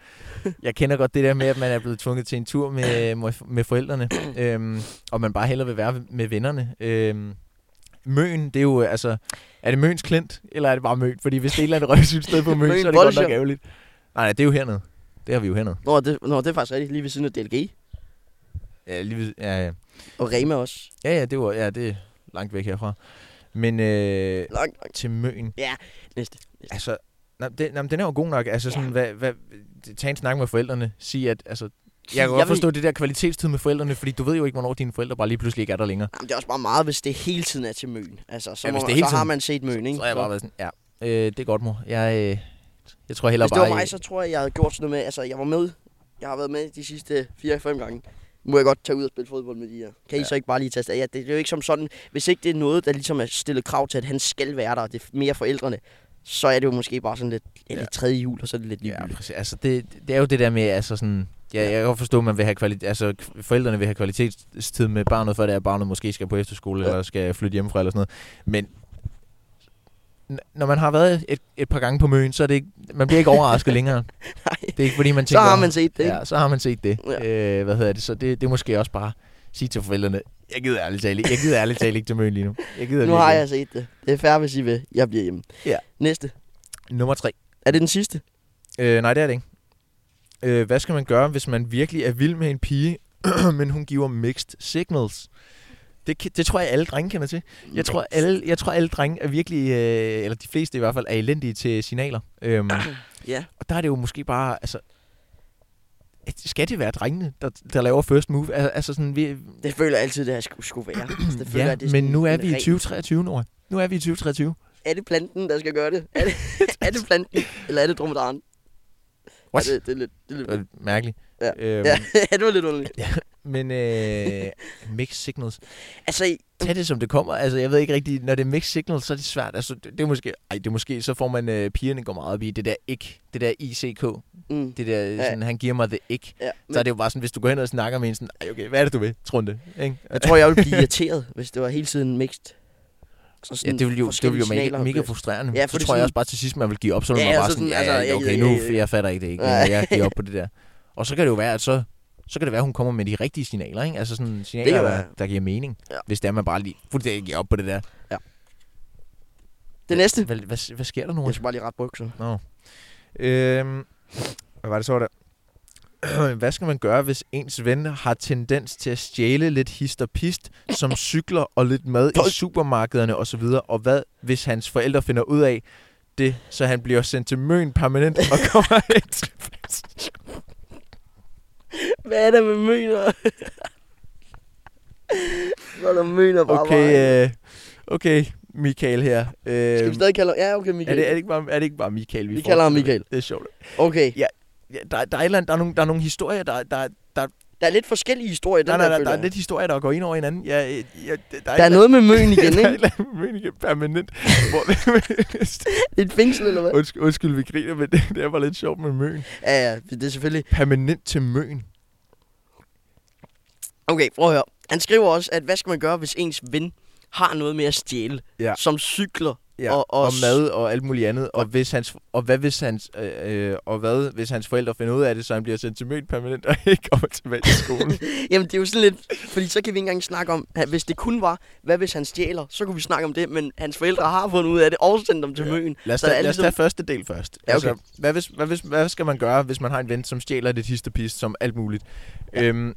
Jeg kender godt det der med, at man er blevet tvunget til en tur med, med- med forældrene, øhm, og man bare hellere vil være med vennerne. Øhm, møen, det er jo, øh, altså, er det møens klint, eller er det bare møn? Fordi hvis det er et eller andet røvsygt sted på Møn møen, så er det godt nok Bolsjer. ærgerligt. Nej, nej, det er jo hernede. Det har vi jo hernede. Nå, det, nå, det er faktisk rigtigt. Lige ved siden af DLG. Ja, lige ved, ja, ja. Og Rema også. ja, ja, det var, ja, det er langt væk herfra. Men øh, Langt, langt. til møen, Næste. Altså, nej, den, nej, men den er jo god nok. Altså, sådan, Ja. ja. hvad, hvad, tag en snak med forældrene. Sig, at... Altså, Sig, jeg kan jeg godt vil- forstå det der kvalitetstid med forældrene, fordi du ved jo ikke, hvornår dine forældre bare lige pludselig ikke er der længere. Jamen, det er også bare meget, hvis det hele tiden er til møen. Altså, så, Ja, ja, hvis må, det man, hele så har tiden- man set møen, ikke? Så har jeg bare været sådan, ja, øh, det er godt, mor. Jeg, øh, jeg tror heller Hvis det bare... øh, var mig, så tror jeg, jeg havde gjort sådan noget med, altså jeg var med, jeg har været med de sidste 4-5 gange. Må jeg godt tage ud og spille fodbold med de her? Kan I Ja. så ikke bare lige tage afsted? Ja, det, det er jo ikke som sådan, hvis ikke det er noget, der ligesom er stillet krav til, at han skal være der, det er mere forældrene, så er det jo måske bare sådan lidt, ja, det er tredje jul, og så er det lidt Ja, ligegyldigt. præcis. Altså, det, det er jo det der med, altså sådan... Ja, jeg kan godt forstå, at man vil have kvalitet, altså, k- forældrene vil have kvalitetstid med barnet, for det er, at barnet måske skal på efterskole, Ja. ja. eller skal flytte hjemmefra, eller sådan noget. Men n- når man har været et, et par gange på møen, så er det ikke, man bliver ikke overrasket længere. Nej, Det er ikke, fordi man så tænker... har man set det, ikke? Ja, så har man set det. Ja. Ja. Øh, hvad hedder det? Så det, det er måske også bare sige til forældrene, jeg gider ærligt tale, jeg gider ærligt tale ikke til møen lige nu. Jeg gider Nu virkelig har ikke." jeg set det. Det er færre, hvis I vil. Jeg bliver hjemme. Ja. Næste. Nummer tre. Er det den sidste? Øh, nej, det er det ikke. Øh, hvad skal man gøre, hvis man virkelig er vild med en pige, men hun giver mixed signals? Det, kan- det tror jeg, alle drenge kender til. Jeg tror, alle, jeg tror, alle drenge er virkelig, øh, eller de fleste i hvert fald, er elendige til signaler. Øhm, Ja. og der er det jo måske bare, altså... at- Skal det være drengene, der, der laver first move? Al- Altså sådan, vi, Det føler jeg altid, det her skulle, skulle være. Altså, det føler, ja, jeg, det men sådan nu er en vi i ren- 2023, Nora. Nu er vi i 2023. Er det planten, der skal gøre det? Er det, er det planten, eller er det dromedaren? What? Ja, det, det, er lidt, det er lidt... Det var Øh, mærkeligt. Ja. Øhm, Ja, det var lidt underligt. Men øh, mixed signals. Altså, tag det, som det kommer. Altså, jeg ved ikke rigtigt, når det er mixed signal, så er det svært. Altså, det, det er måske, ej, det er måske, så får man, øh, pigerne går meget op i det der ikke, det der ICK, mm, det der, Ja. ja. sådan, han giver mig det ikke. ja. Så er det jo bare sådan, hvis du går hen og snakker med en sådan, ej, okay, hvad er det, du vil, Trunde? Ikke? Jeg tror, jeg ville blive irriteret, hvis det var hele tiden mixed. Så ja, sådan det vil jo, det vil forskellige jo mega, signaler. mega frustrerende. Ja, Ja, for så det tror sådan- jeg også bare til sidst, man vil give op, så vil Ja, man bare så sådan, sådan, ja, altså, ja, jeg okay, gider- nu, jeg- jeg- jeg fatter ikke det ikke, Nej. ja. jeg giver op på det der. Og så kan det jo være, at så, så kan det være, at hun kommer med de rigtige signaler, ikke? Altså sådan signaler, kan der, være. der giver mening. Ja. Ja. Hvis det er, man bare lige fuldstændig giver op på det der. Det næste. Hvad, hvad, hvad sker der nu? Jeg skal bare lige ret bukser. Øhm, hvad var det så var der? hvad skal man gøre, hvis ens ven har tendens til at stjæle lidt hist og pist, som cykler og lidt mad i supermarkederne osv.? Og hvad, hvis hans forældre finder ud af det, så han bliver sendt til møn permanent og kommer ind? Hvad er der med møner? Så er der møner bare vejen. Okay, øh, okay Michael her. Øh, Skal vi er, stadig kalde Ja, okay, Michael. det, er, det ikke bare, er det ikke bare Michael, vi Vi kalder ham forestiller? Michael. Det er sjovt. Okay. Ja, der, der, er, et eller andet- der, er nogle, der er nogle historier, der, der, der, Der er lidt forskellige historier, den nej, der, nej, nej, der er føler lidt historier, der går ind over hinanden. Ja, ja, ja, der, jeg. der er noget med møn igen, Der er et ikke? eller andet med meningen permanent. Hvor, Det er et fængsel, eller hvad? undskyld, undskyld, vi griner, men det, det var lidt sjovt med møn. Ja, ja, det er selvfølgelig. Permanent til møn. Okay, prøv at høre. Han skriver også, at hvad skal man gøre, hvis ens ven har noget med at stjæle, Ja. som cykler Ja, og, og, og mad og alt muligt andet. Og, hvis hans, og, hvad hvis hans, øh, øh, og hvad hvis hans forældre finder ud af det, så han bliver sendt til møn permanent og ikke kommer tilbage til skolen? Jamen, det er jo sådan lidt... Fordi så kan vi ikke engang snakke om... at Hvis det kun var, hvad hvis han stjæler, så kunne vi snakke om det. Men hans forældre har fundet ud af det og sendt dem til Ja. møen. Lad os, Så der er tage, lad os ligesom- tage første del først. Ja, okay. altså, hvad, hvis, hvad, hvis, hvad skal man gøre, hvis man har en ven, som stjæler det sidste pis, som alt muligt? Ja. Øhm,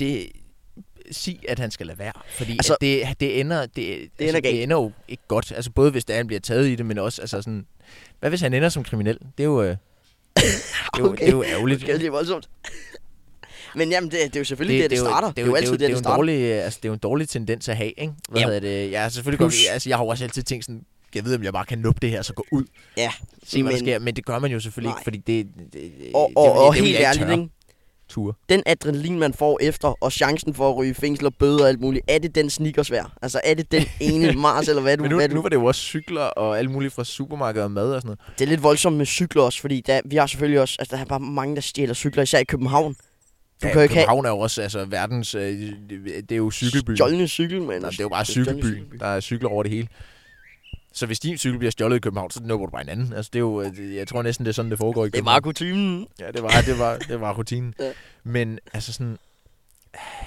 det sig, at han skal lade være. Fordi Altså- altså, at det, det ender, det, det, ender altså, galt. det ender jo ikke godt. Altså både hvis det er, han bliver taget i det, men også altså sådan... Hvad hvis han ender som kriminel? Det er jo, øh, det er jo, Okay. det er jo ærgerligt. Det er lige voldsomt. Men jamen, det, det er jo selvfølgelig det, det, det, starter. Det, er jo altid det, det, det, er det jo en starter. dårlig, øh, altså, det er jo en dårlig tendens at have, ikke? Hvad Ja. hedder det? Jeg, er selvfølgelig Plus- godt, altså, jeg har jo også altid tænkt sådan, jeg ved, om jeg bare kan nuppe det her, så gå ud. Ja, Se, hvad men- der sker. Men det gør man jo selvfølgelig Nej. ikke, fordi det... det, det Og, det- og, det- og det vil helt jeg ikke ærligt, turde. ikke? Ture. den adrenalin, man får efter, og chancen for at ryge i fængsel og bøder og alt muligt, er det den sneakers værd? Altså, er det den ene Mars, eller hvad du... Men nu, hvad du nu var det jo også cykler og alt muligt fra supermarkedet og mad og sådan noget. Det er lidt voldsomt med cykler også, fordi der, vi har selvfølgelig også... Altså, der er bare mange, der stjæler cykler, især i København. Du kan jo ikke have København er jo også altså, verdens... Øh, det er jo cykelbyen. stjålne cykel, men... altså, Nej, det er jo bare stjålne cykelbyen. Der er cykler over det hele. Så hvis din cykel bliver stjålet i København, så nupper du bare en anden. Altså, det er jo, øh, jeg tror næsten, det er sådan, det foregår i Det er København. bare kutumen. Ja, det var, det var, det var rutinen. Ja. Men altså sådan,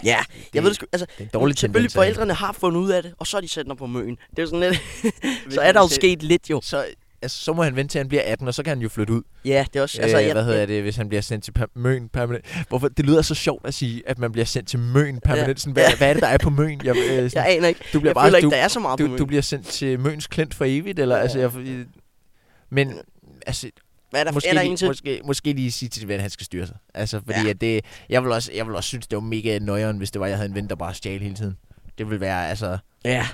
Ja, jeg Det- ved det sgu, altså, det er en dårlig selvfølgelig tendens. at have. forældrene har fundet ud af det, og så er de sendt op på møen. Det er sådan lidt, så Hvilket er der jo vi ser- sket lidt jo. Så, altså, så må han vente til, han bliver 18, og så kan han jo flytte ud. Ja, det er også, Altså, altså, øh, jeg, hvad hedder det, hvis han bliver sendt til per- Møn permanent? Hvorfor? Det lyder så sjovt at sige, at man bliver sendt til Møn permanent. Ja. Sådan, hvad, Ja. hvad er det, der er på Møn? Jeg, øh, sådan, jeg aner ikke. du bliver Jeg bare, føler ikke, du, der er så meget på du, møen. du bliver sendt til Møns klint for evigt, eller? Ja. Ja. Altså, jeg, øh, men altså, Hvad er der, måske, er der lige, en til? måske, måske lige sige til din ven, at han skal styre sig. Altså, fordi Ja. ja. at det, jeg, vil også, jeg vil også synes, det var mega nøjeren, hvis det var, jeg havde en ven, der bare stjal hele tiden. Det ville være, altså, Ja.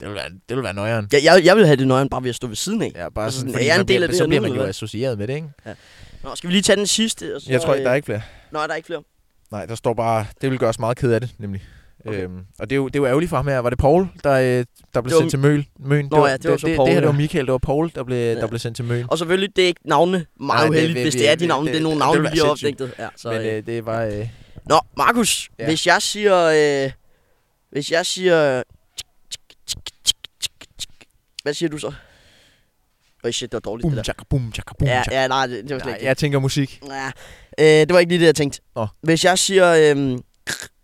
det ville være, det ville være nøjeren. Jeg, jeg, jeg vil have det nøjeren bare ved at stå ved siden af. Ja, bare Altså, sådan, sådan, fordi er jeg en så del bliver, af det så her bliver nu, man eller jo hvad? associeret med det, ikke? Nå, skal vi lige tage den sidste? Og så, øh, Jeg tror ikke, der er ikke flere. Nej, der er ikke flere. Nej, der står bare, det vil gøre os meget ked af det, nemlig. Okay. Øhm, og det er, jo, det er jo ærgerligt for ham her. Var det Paul, der, øh, der blev var sendt til Møn? Møn. Nå ja, det var så det, Paul, Det her det ja. var Michael, det var Paul, der blev, Ja. ja. der blev sendt til Møn. Og selvfølgelig, det er ikke navne. Nej, Meget det- uheldigt, vi- hvis vi- det er de det- navne. Det, det- er nogle det- navne, det vi ville lige har være sindssygt. opdægtet. Ja, så, Men øh. øh, det var... Øh, Nå, Markus, ja. Ja. hvis jeg siger... Øh, hvis jeg siger... Hvad siger du så? Øj, shit, det var dårligt, boom, det der. tjaka, boom, tjaka, boom, Ja, tjaka. ja, nej, det, det var slet Nej, ikke jeg tænker musik. Ja. Øh, det var ikke lige det, jeg tænkte. Nå. Hvis jeg siger, øhm,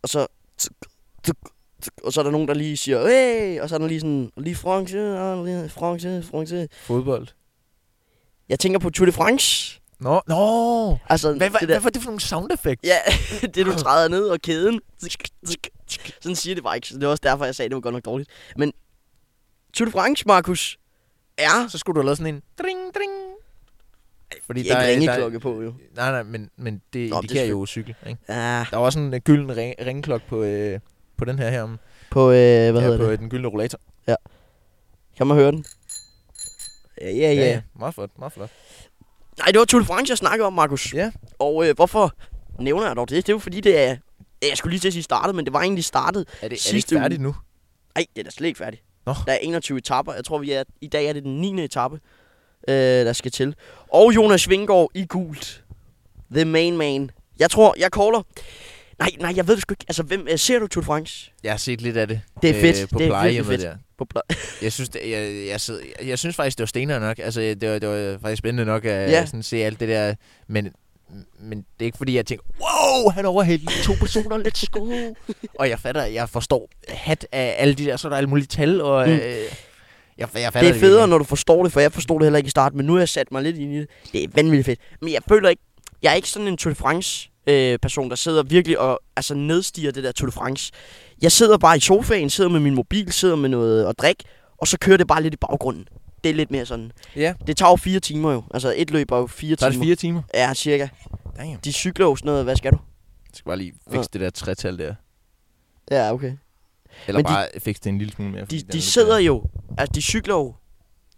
og så, og så er der nogen, der lige siger, hey, og så er der lige sådan, lige France, ah, lige France, France. Fodbold. Jeg tænker på Tour de France. Nå, nå. Altså, Hvad, hvad, det hvad var det for nogle sound effects? Ja, det du træder ned, og kæden. Sådan siger det bare ikke. så Det var også derfor, jeg sagde, at det var godt nok dårligt. Men Tour de France, Markus, er... Så skulle du have lavet sådan en... Dring, dring. Fordi Ikke ringeklokke på, jo. Nej, nej, men, men det Nå, det er indikerer jo cykel. Ikke? Ja, Der er også en øh, gylden ring, ringklok på, øh, på den her her. om- på, øh, hvad hedder ja, på det? øh, den gyldne rollator. Kan man høre den? Ja, ja, ja. Meget flot, meget flot. Nej, det var Tour de France, jeg snakkede om, Markus. Ja. Og øh, hvorfor nævner jeg dog det? Det er jo fordi, det er... ja, Jeg skulle lige til at sige startet, men det var egentlig startet. Er det, er det Sidste ikke uge. færdigt nu? Nej, det er da slet ikke færdigt. Nå. Der er 21 etapper. Jeg tror, vi er... I dag er det den 9. etape, øh, der skal til. Og Jonas Vingård i gult. The main man. Jeg tror, jeg caller... Nej, nej, jeg ved det sgu ikke. Altså, hvem, øh, ser du Tour de France? Jeg har set lidt af det. øh, Det er fedt. på det er virkelig fedt. plejehjemmet der. På pla- Jeg synes, det, jeg, jeg, sidder, jeg, jeg synes faktisk, det var stener nok. Altså, det var, det var faktisk spændende nok at Ja. ja. sådan, se alt det der. Men, men det er ikke fordi, jeg tænker, wow, han overhældte to personer, let's go. og jeg fatter, jeg forstår hat af alle de der, så er der alle mulige tal. Og, Mm. mm. øh, jeg, jeg fatter det er federe, virkelig når du forstår det, for jeg forstod det heller ikke i starten, men nu har jeg sat mig lidt ind i det. Det er vanvittigt fedt. Men jeg føler ikke, jeg er ikke sådan en Tour de France øh, person, der sidder virkelig og altså, nedstiger det der Tour de France. Jeg sidder bare i sofaen, sidder med min mobil, sidder med noget at drikke, og så kører det bare lidt i baggrunden. Det er lidt mere sådan. ikke. Ja, Det tager jo fire timer jo. Altså et løb er jo fire så er det timer. fire timer. Ja, cirka. Damn. De cykler jo sådan noget. Hvad skal du? Jeg skal bare lige Ja. fikse det der tretal der. Ja, okay. Eller Men de- bare fikse det en lille smule mere. fordi De, den er de lidt sidder bedre. jo, altså de cykler jo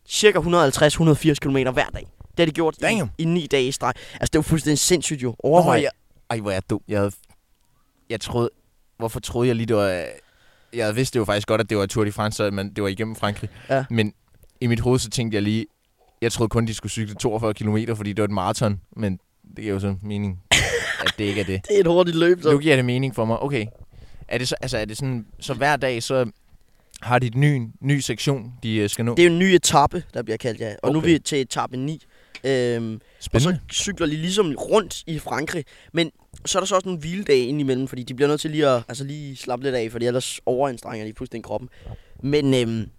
cirka 150-180 km hver dag. Det har de gjort i, Damn. i, ni dage i streg. Altså det er jo fuldstændig sindssygt jo. Overvej. Nå, jeg, ej, hvor er jeg dum. Jeg, havde, jeg troede... Hvorfor troede jeg lige, det var... Jeg vidste jo faktisk godt, at det var Tour de France, så- men det var igennem Frankrig. Ja. Men i mit hoved, så tænkte jeg lige... Jeg troede kun, de skulle cykle 42 km, fordi det var et maraton. Men det giver jo så mening, at det ikke er det. Det er et hurtigt løb, Nu så. giver det mening for mig. Okay. Er det så, altså, er det sådan, så hver dag, så har de et ny, ny sektion, de øh, skal nå? Det er jo en ny etape, der bliver kaldt, ja. Og okay. nu er Okay. vi til etape 9. Øhm, og så Spændende. cykler de ligesom rundt i Frankrig. Men så er der så også nogle hviledage indimellem, fordi de bliver nødt til lige at altså lige slappe lidt af, fordi ellers overanstrenger de fuldstændig kroppen. Men øhm,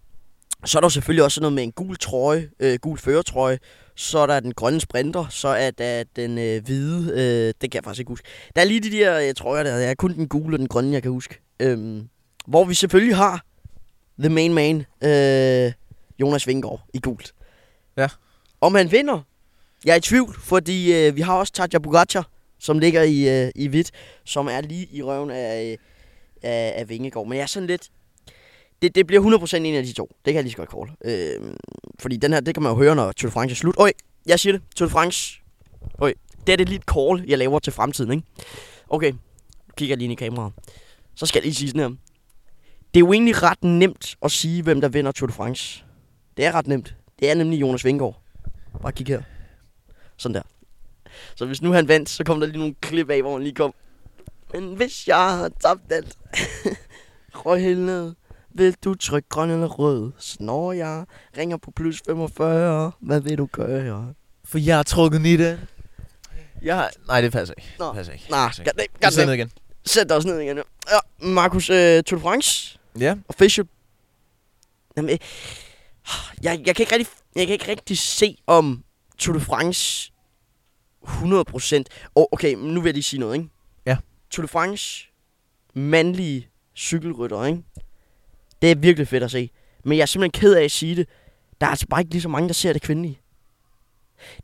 så er der jo selvfølgelig også sådan noget med en gul trøje, øh, gul føretrøje. Så er der den grønne sprinter, så er der den øh, hvide, øh, det kan jeg faktisk ikke huske. Der er lige de der øh, trøjer der, det er kun den gule og den grønne, jeg kan huske. Øhm, hvor vi selvfølgelig har the main man, øh, Jonas Vingård i gult. Ja. Om han vinder, jeg er i tvivl, fordi øh, vi har også Tadja Pogacar, som ligger i, øh, i hvidt, som er lige i røven af, øh, af, af Vingegaard. Men jeg er sådan lidt... Det, det bliver 100% en af de to. Det kan jeg lige så godt call. Øh, fordi den her, det kan man jo høre, når Tour de France er slut. Øj, jeg siger det. Tour de France. Øj, det er det lige et call, jeg laver til fremtiden, ikke? Okay, nu kigger jeg lige ind i kameraet. Så skal jeg lige sige sådan her. Det er jo egentlig ret nemt at sige, hvem der vinder Tour de France. Det er ret nemt. Det er nemlig Jonas Vingegaard. Bare kig her. Sådan der. Så hvis nu han vandt, så kom der lige nogle klip af, hvor han lige kom. Men hvis jeg har tabt alt, røg hele ned. Vil du trykke grøn eller rød? Snor jeg. Ringer på plus 45. Hvad vil du gøre? For jeg har trukket i det. Jeg har... Nej, det passer ikke. øh. Nå. Det passer ikke. Nej, Det passer ikke. god damn, Vi god sidder damn. ned igen. Sæt dig også ned igen. ja. Ja, Markus, øh, Tour de France, Ja. official. Jamen, øh, jeg, jeg, kan ikke rigtig, jeg kan ikke rigtig se om Tour de France 100%. Oh, okay, men nu vil jeg lige sige noget, ikke? Ja. Tour de France, mandlige cykelrytter, ikke? Det er virkelig fedt at se. Men jeg er simpelthen ked af at sige det. Der er altså bare ikke lige så mange, der ser det kvindelige.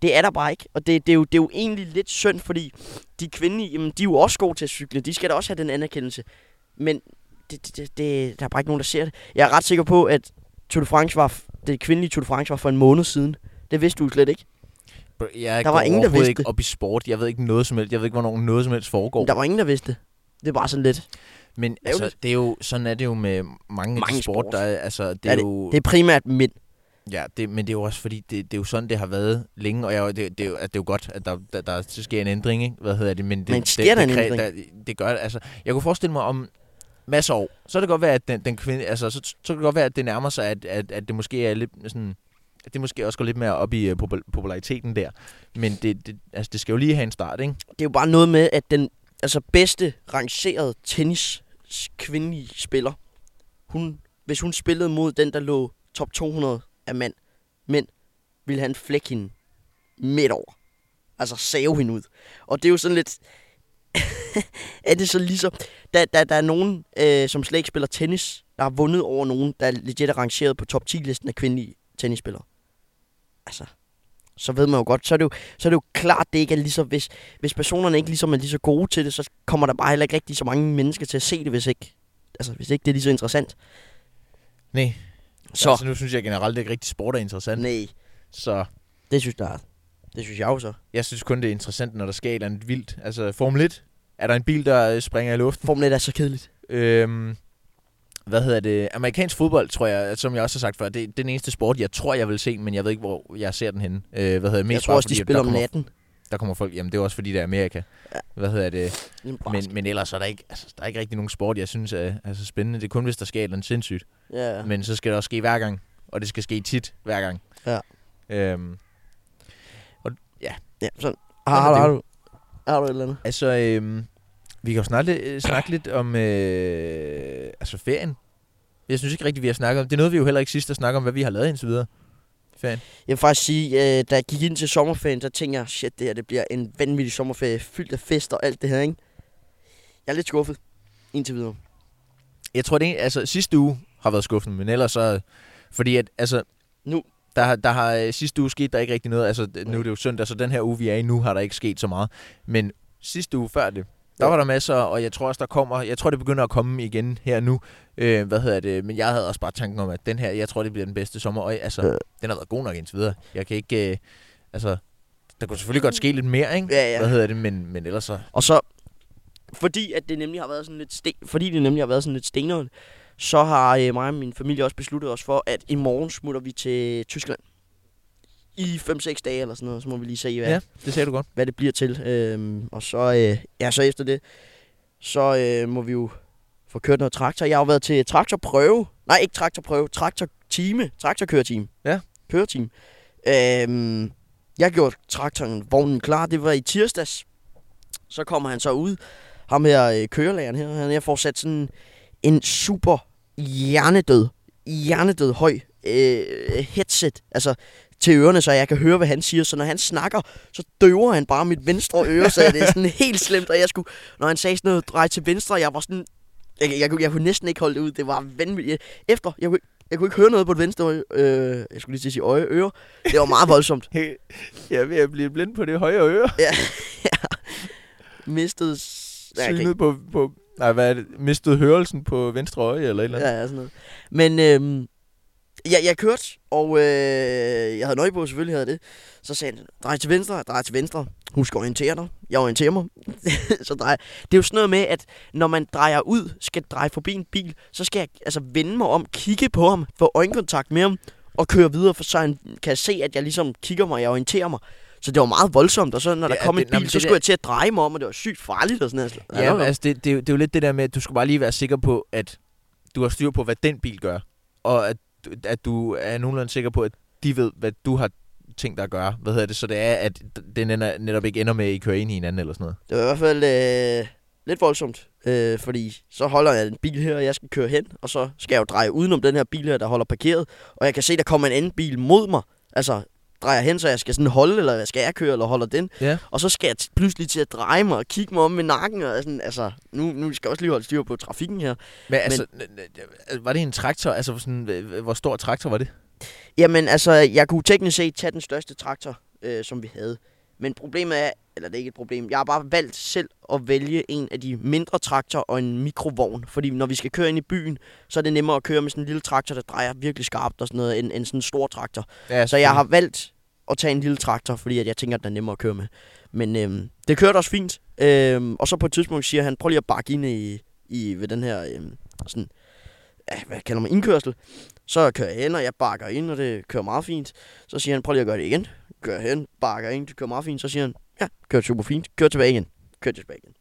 Det er der bare ikke. Og det, det, er, jo, det er jo egentlig lidt synd, fordi de kvindelige, jamen, de er jo også gode til at cykle. De skal da også have den anerkendelse. Men det, det, det, det, der er bare ikke nogen, der ser det. Jeg er ret sikker på, at Tour de France var, f- det kvindelige Tour de France var for en måned siden. Det vidste du jo slet ikke. Bro, Jeg Der der var var ingen, der overhovedet vidste ikke det. op i sport. Jeg ved ikke noget som helst. Jeg ved ikke, hvornår noget som helst foregår. Der var ingen, der vidste det. Det er bare sådan lidt. Men altså, Ærgerligt. det er jo, sådan er det jo med mange, af de Mange sport, sport. der er, altså, det Ja, er, jo, Det er primært mænd. Ja, det, men det er jo også fordi, det, det er jo sådan, det har været længe, og jeg, det, det, er jo, at det er jo godt, at der, der, der så sker en ændring, ikke? Hvad hedder det? Men, det, Men sker det, der en det, kræ- ændring? Der, det gør det, altså. Jeg kunne forestille mig om masser af år, så kan det godt være, at den, den kvinde, altså, så, så kan det godt være, at det nærmer sig, at, at, at det måske er lidt sådan, at det måske også går lidt mere op i uh, popul- populariteten der. Men det, det, altså, det skal jo lige have en start, ikke? Det er jo bare noget med, at den altså bedste rangerede tennis s- kvindelige spiller, hun, hvis hun spillede mod den, der lå top 200 af mand, mænd, ville han flække hende midt over. Altså save hende ud. Og det er jo sådan lidt... er det så lige så... Der, der, der er nogen, øh, som slet ikke spiller tennis, der har vundet over nogen, der legit er rangeret på top 10-listen af kvindelige tennisspillere. Altså, så ved man jo godt, så er det jo, så er det jo klart, det ikke er lige så... Hvis, hvis personerne ikke ligesom er lige så gode til det, så kommer der bare heller ikke rigtig så mange mennesker til at se det, hvis ikke, altså, hvis ikke det er lige så interessant. Nej. Så. Så, Altså, nu synes jeg generelt, det er ikke rigtig sport er interessant. nej, Så det synes jeg, det synes jeg jo så. jeg synes kun, det er interessant, når der sker et eller andet vildt. Altså, Formel 1, er der en bil, der øh, springer i luften? Formel 1 er så kedeligt. Øhm, hvad hedder det? Amerikansk fodbold, tror jeg, som jeg også har sagt før, det er den eneste sport, jeg tror, jeg vil se, men jeg ved ikke, hvor jeg ser den henne. Øh, hvad hedder det? Jeg Mest tror bare også, de fordi, at spiller der om kommer, natten. Der kommer folk, jamen det er også fordi, det er Amerika. Ja. Hvad hedder det? Men, Men, men ellers er der ikke, altså, der er ikke rigtig nogen sport, jeg synes er, er så spændende. Det er kun, hvis der sker et eller andet sindssygt. ja, ja. Ja. Men så skal det også ske hver gang, og det skal ske tit hver gang. Ja. Øhm, ja sådan. er Ah, Har, har, det har, jo. du, har du et eller andet? altså, øhm, vi kan jo snakke, lidt- øh, snakke lidt om øh, altså ferien. Jeg synes ikke rigtigt, vi har snakket om. Det nåede vi jo heller ikke sidst at snakke om, hvad vi har lavet indtil videre. Ferien. Jeg vil faktisk sige, øh, da jeg gik ind til sommerferien, så tænkte jeg, shit, det her det bliver en vanvittig sommerferie, fyldt af fest og alt det her, ikke? Jeg er lidt skuffet, indtil videre. Jeg tror, det er, altså sidste uge har været skuffende, men ellers så... Fordi at, altså... Nu. Der, har- der har øh, sidste uge sket der ikke rigtig noget. Altså, d- nu Nej. er det jo søndag, så den her uge, vi er i nu, har der ikke sket så meget. Men sidste uge før det, der Ja. var der masser, og jeg tror også, der kommer... Jeg tror, det begynder at komme igen her nu. Øh, hvad hedder det? Men jeg havde også bare tanken om, at den her, jeg tror, det bliver den bedste sommer. Og altså, Ja. den har været god nok indtil videre. Jeg kan ikke... Øh, altså, der kunne selvfølgelig godt ske lidt mere, ikke? Ja, ja. Hvad hedder det? Men, men ellers så... Og så, fordi at det nemlig har været sådan lidt sten, fordi det nemlig har været sådan lidt steneren, så har øh, mig og min familie også besluttet os for, at i morgen smutter vi til Tyskland. I 5-6 dage eller sådan noget, så må vi lige se, hvad, ja. Ja, det sagde du godt. hvad det bliver til. Øhm, og så, øh, ja, så efter det, så øh, må vi jo få kørt noget traktor. Jeg har jo været til traktorprøve. Nej, ikke traktorprøve. Traktortime. Traktorkøretime. Ja. Køretime. Øhm, jeg gjorde traktoren, vognen klar. Det var i tirsdags. Så kommer han så ud. Ham her, øh, kørelæren her. Han jeg får sat sådan en super hjernedød, hjernedød høj øh, headset. Altså til ørerne, så jeg kan høre, hvad han siger. Så når han snakker, så døver han bare mit venstre øre, så det er sådan helt slemt. Og jeg skulle, når han sagde sådan noget, drej til venstre, jeg var sådan, jeg, jeg, jeg, kunne- jeg kunne næsten ikke holde det ud. Det var vanvittigt. Jeg- Efter, jeg kunne, ikke- jeg kunne ikke høre noget på det venstre øje, øh, jeg skulle lige til at sige øje, øre. Det var meget voldsomt. Jeg er ved at blive blind på det højre øre. Mistede... s- Ja, jeg kan ikke- synet på, på... Nej, hvad er det? Mistet hørelsen på venstre øje eller et eller andet? Ja, ja, sådan noget. Men øhm, jeg, jeg kørte, og øh, jeg havde nøje på, selvfølgelig havde jeg det. Så sagde han, drej til venstre, drej til venstre. Husk at orientere dig. Jeg orienterer mig. så drej. Det er jo sådan noget med, at når man drejer ud, skal dreje forbi en bil, så skal jeg altså vende mig om, kigge på ham, få øjenkontakt med ham, og køre videre, for så han kan se, at jeg ligesom kigger mig, jeg orienterer mig. Så det var meget voldsomt, og så når Ja, der kom det- en nå, men bil, det så der- skulle jeg til at dreje mig om, og det var sygt farligt og sådan noget. Ja, ja men altså, det, det, er jo- det er jo lidt det der med, at du skal bare lige være sikker på, at du har styr på, hvad den bil gør. Og at, at du er nogenlunde sikker på, at de ved, hvad du har tænkt dig at gøre. Hvad hedder det? Så det er, at den ender, netop ikke ender med, at I kører ind i hinanden eller sådan noget. Det var i hvert fald øh, lidt voldsomt, øh, fordi så holder jeg en bil her, og jeg skal køre hen, og så skal jeg jo dreje udenom den her bil her, der holder parkeret, og jeg kan se, der kommer en anden bil mod mig. Altså, drejer hen, så jeg skal sådan holde, eller hvad skal jeg køre, eller holder den. Ja. Og så skal jeg t- pludselig til at dreje mig og kigge mig om med nakken, og sådan, altså, nu, nu skal jeg også lige holde styr på trafikken her. Men altså, men... var det en traktor? Altså, sådan, øh, hvor stor traktor var det? Jamen, altså, jeg kunne teknisk set tage den største traktor, øh, som vi havde. Men problemet er, eller det er ikke et problem, jeg har bare valgt selv at vælge en af de mindre traktorer og en mikrovogn. Fordi når vi skal køre ind i byen, så er det nemmere at køre med sådan en lille traktor, der drejer virkelig skarpt og sådan noget, end, end sådan en stor traktor. Ja, Så jeg har valgt at tage en lille traktor, fordi at jeg tænker, at den er nemmere at køre med. Men øhm, det kørte også fint. Øhm, og så på et tidspunkt siger han, prøv lige at bakke ind i, i, ved den her øh, sådan, ja, hvad kalder man, indkørsel. Så kører jeg hen, og jeg bakker ind, og det kører meget fint. Så siger han, prøv lige at gøre det igen. Kører hen, bakker ind, det kører meget fint. Så siger han, ja, kører super fint, kører tilbage igen. Kører tilbage igen.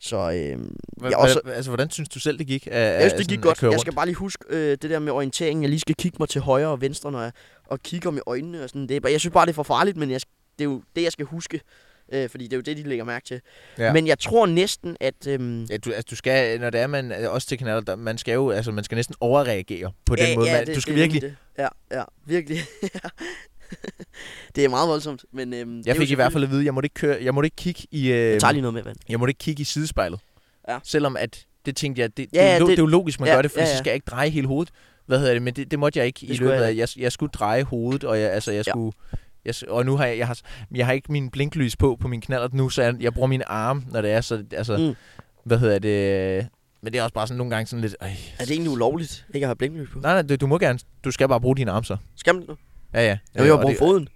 Så øh, Hva, Jeg er også- hva, altså, hvordan synes du selv, det gik? Af, jeg synes, det gik godt. Jeg Jeg skal bare lige huske øh, det der med orienteringen. Jeg lige skal kigge mig til højre og venstre, når jeg og kigger med øjnene og sådan. Det er, bare- jeg synes bare, det er for farligt, men jeg, sk- det er jo det, jeg skal huske. Øh, fordi det er jo det, de lægger mærke til. Ja. Ja. Men jeg tror næsten, at... Øhm, Ja, du, altså, du skal, når det er, man øh, også til kanaler, der, man skal jo, altså, man skal næsten overreagere på den måde. man, du skal det er virkelig, nemlig Det. Ja, ja, virkelig. det er meget voldsomt, men... Øhm, det er jeg jo fik i hvert selvfølgelig- fald at vide, jeg måtte ikke køre, jeg måtte ikke kigge i, øh, Jeg tager lige noget med, vand. jeg måtte ikke kigge i sidespejlet. Ja. Selvom at, det tænkte jeg, det, Ja, det, er ja, jo lo- det- det, er jo logisk, man ja, gør det, for ja, ja, ja. ja. så skal jeg ikke dreje hele hovedet. Hvad hedder det? Men det, det måtte jeg ikke i Det skulle løbet jeg af, jeg, jeg skulle dreje hovedet, og jeg, altså, jeg Ja. skulle... Jeg, s- og nu har jeg, jeg, har, jeg har ikke min blinklys på på min knaller nu, så jeg, jeg bruger mine arme, når det er, så altså, Mm. mm. hvad hedder det, men det er også bare sådan nogle gange sådan lidt, øh, Er det egentlig ulovligt, ikke at have blinklys på? Nej, nej, du, du må gerne. Du skal bare bruge dine arme så. Skal man det? Ja, ja. Jeg vil jo og bruge det- foden.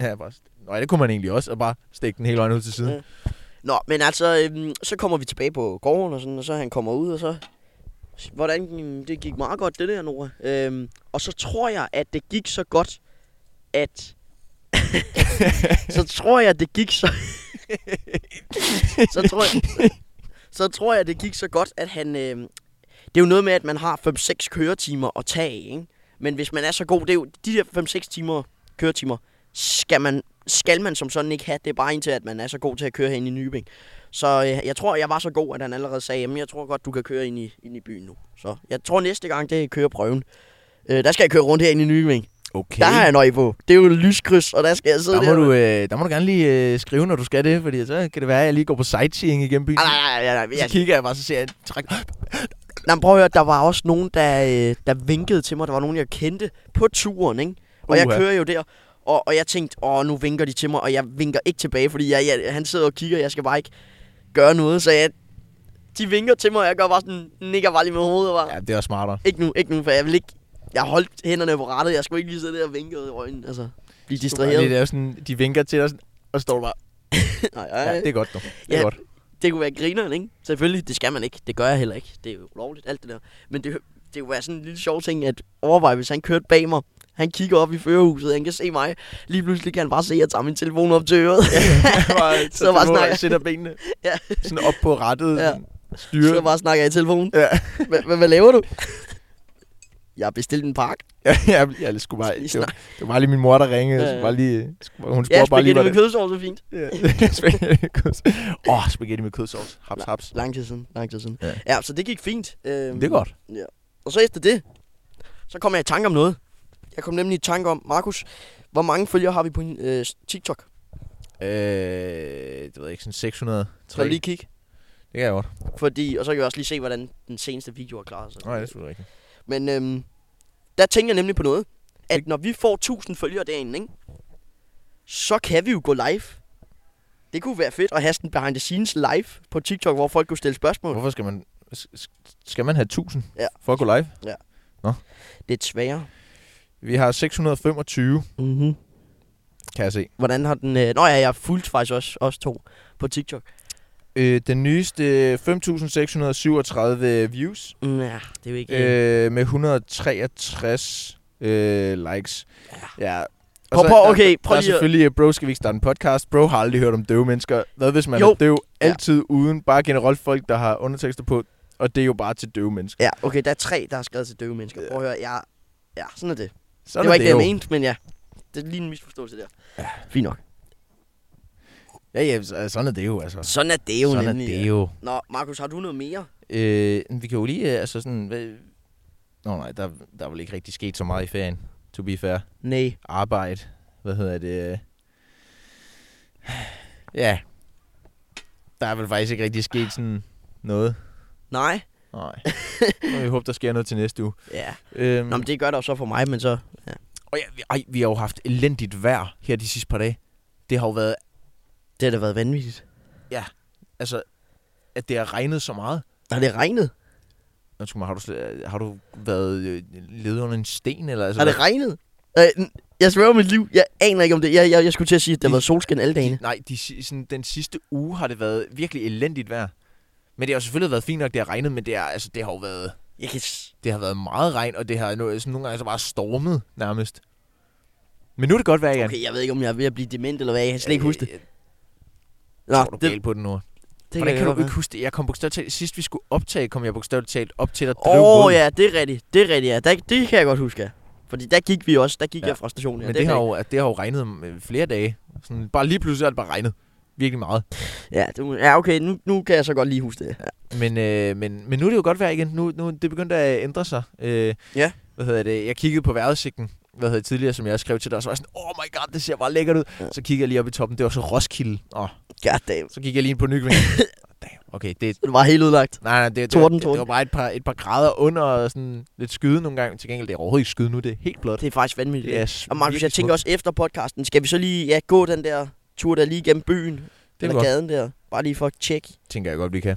Ja, bare... Nej, det kunne man egentlig også, og bare stikke den hele øjne ud til siden. Ja. Nå, men altså, øhm, så kommer vi tilbage på gården og sådan, og så han kommer ud, og så... Hvordan mm, det gik meget godt, det der, Nora. Øhm, og så tror jeg, at det gik så godt, at... så tror jeg, at det gik så... så tror jeg... Så tror jeg, at det gik så godt, at han... Øhm, det er jo noget med, at man har 5-6 køretimer at tage af, ikke? Men hvis man er så god, det er jo de der 5-6 timer, køretimer, skal man, skal man som sådan ikke have. Det er bare indtil, at man er så god til at køre hen i Nybing. Så øh, jeg tror, jeg var så god, at han allerede sagde, jamen jeg tror godt, du kan køre ind i, ind i byen nu. Så jeg tror næste gang, det er køreprøven. Øh, der skal jeg køre rundt herinde i Nybing. Okay. Okay. Der har jeg nøje på. Det er jo et lyskryds, og der skal jeg sidde der, må der. du, øh, der må du gerne lige øh, skrive, når du skal det, fordi så kan det være, at jeg lige går på sightseeing igennem byen. Ej, nej, nej, nej, nej, Så jeg, kigger jeg bare, så ser jeg en træk. nej, men prøv at høre, der var også nogen, der, øh, der vinkede til mig. Der var nogen, jeg kendte på turen, ikke? Og jeg Uha. kører jo der, og, og jeg tænkte, åh, nu vinker de til mig, og jeg vinker ikke tilbage, fordi jeg, jeg, han sidder og kigger, jeg skal bare ikke gøre noget, så jeg, de vinker til mig, og jeg gør bare sådan, nikker bare lige med hovedet, og bare, Ja, det er smartere. ikke nu, ikke nu, for jeg vil ikke, jeg holdt hænderne på rattet, jeg skulle ikke lige sidde der og vinke ud i øjnene, altså, blive distraheret. Det er sådan, de vinker til dig, sådan, og står du bare, Nej, ja, nej, det er godt nu. Det Ja. er ja. godt. det kunne være grineren, ikke? Selvfølgelig, det skal man ikke, det gør jeg heller ikke, det er jo ulovligt, alt det der, men det, det kunne være sådan en lille sjov ting, at overveje, hvis han kørte bag mig, han kigger op i førerhuset, han kan se mig, lige pludselig kan han bare se, at jeg tager min telefon op til øret. bare, Så bare du må snakker. sætter benene Ja. sådan op på rattet, Ja. ja. Så styrer. jeg bare snakker i telefonen. Ja. Hva- hva- Hvad laver du? Jeg har bestilt en pakke. Ja, jeg, jeg skulle bare, Lige det var, det var bare lige min mor, der ringede. Ja, Ja, ja. ja. Bare lige, skulle bare- hun Ja, spurgte bare lige, spaghetti med hvordan- kødsovs er fint. Ja, spaghetti med kødsovs. Åh, oh, spaghetti med kødsovs. Haps, haps. Lang tid siden, lang tid siden. Ja. Ja, så det gik fint. Øhm, Det er godt. Og så efter det, så kom jeg i tanke om noget. Jeg kom nemlig i tanke om, Markus, hvor mange følgere har vi på øh, TikTok? Øh, det ved jeg ikke, sådan 603. Skal du lige kigge? Det kan jeg godt. Fordi, og så kan vi også lige se, hvordan den seneste video har klaret sig. Nej, det er rigtigt. Men øhm, der tænker jeg nemlig på noget. At når vi får 1000 følgere derinde, ikke? så kan vi jo gå live. Det kunne være fedt at have sådan behind the scenes live på TikTok, hvor folk kunne stille spørgsmål. Hvorfor skal man... s- s- Skal man have 1000 Ja. for at gå live? Det er sværere. Vi har 625, Mm-hmm. kan jeg se. Hvordan har den... Øh... Nå ja, jeg fulgte faktisk også, også to på TikTok. Øh, den nyeste øh, 5637 views Mm, ja, det er jo ikke... Øh, øh, med 163 øh, likes. Ja. Prøv- så prøv- der- okay, der, prøv der er lige at- selvfølgelig, øh, bro, skal vi ikke starte en podcast? Bro har aldrig hørt om døve mennesker. Hvad hvis man Jo. er døv? Ja. Altid uden, bare generelt folk, der har undertekster på. Og det er jo bare til døve mennesker. ja, okay, der er tre, der har skrevet til døve mennesker. Prøv at høre, jeg... Ja, sådan er det. Sådan det var er ikke det, jeg jo. mente, men ja. Det er lige en misforståelse der. Ja. Fint nok. Ja, ja, så- sådan er det jo, altså. Sådan er det jo sådan er nemlig. det ja. jo. Nå, Markus, har du noget mere? Øh, vi kan jo lige, øh, altså sådan... Hvad... Nå nej, der, der er vel ikke rigtig sket så meget i ferien, to be fair. Nej. Arbejde, hvad hedder det? øh? Ja, der er vel faktisk ikke rigtig sket sådan noget. Nej? Nej, Nå, jeg håber, der sker noget til næste uge. Ja. Øhm, Nå, men det gør der jo så for mig, men så... og ja, vi, ej, vi har jo haft elendigt vejr her de sidste par dage. Det har jo været, Det har da været vanvittigt. altså, at det har regnet så meget. Har det regnet? Undskyld mig, har du, slet- har du været øh, ledet under en sten? Eller, altså, Har det regnet? Øh, n- jeg sværger mit liv. Jeg aner ikke om det. Jeg, jeg, jeg skulle til at sige, at det har været solskin alle dagene. Nej, de, si- sådan, den sidste uge har det været virkelig elendigt vejr. Men det har jo selvfølgelig været fint nok, det har regnet, men det, er, altså, det har jo været, Jeg kan... s- det har været meget regn, og det har nu- sådan nogle gange så bare stormet nærmest. Men nu er det godt vejr igen. Okay, jeg ved ikke, om jeg er ved at blive dement eller hvad. Jeg kan slet ikke huske det. Jeg, Nå, Øh, tror, du det, det, på den nu. det Hvordan kan du godt ikke huske det? Jeg kom bogstaveligt talt, sidst vi skulle optage, kom jeg bogstaveligt talt op til dig. være. Åh oh, ja, det er rigtigt. Det er rigtigt, ja. Der, det kan jeg godt huske, ja. Fordi der gik vi også. Der gik Ja. ja. jeg fra stationen. Ja. Men er det, har rigtigt. jo, det har jo regnet øh, flere dage. Sådan, bare lige pludselig har det bare regnet. Virkelig meget. Ja, det, ja okay, nu, nu kan jeg så godt lige huske det. Ja. Men, øh, men, men nu er det jo godt vejr igen. Nu, nu det begyndte at ændre sig. Øh, Ja. Hvad hedder det? Jeg kiggede på vejrudsigten hvad hedder det, tidligere, som jeg også skrev til dig, og så var jeg sådan, oh my god, det ser bare lækkert ud. Ja. Så kigger jeg lige op i toppen, det var så Roskilde. Åh, Goddamn. så gik jeg lige ind på Nykøbing. Damn, okay, det, Det var helt udlagt. nej, nej, det, det, Torden, det, det, torden. var bare et par, et par grader under, og sådan lidt skyde nogle gange. Til gengæld, det er overhovedet ikke skyde nu, det er helt blot. Det er faktisk vanvittigt. Det er Og Markus, jeg virkelig tænker også efter podcasten, skal vi så lige ja, gå den der tur der lige gennem byen? Det er eller godt. gaden der? Bare lige for at tjekke. tænker jeg godt, vi kan.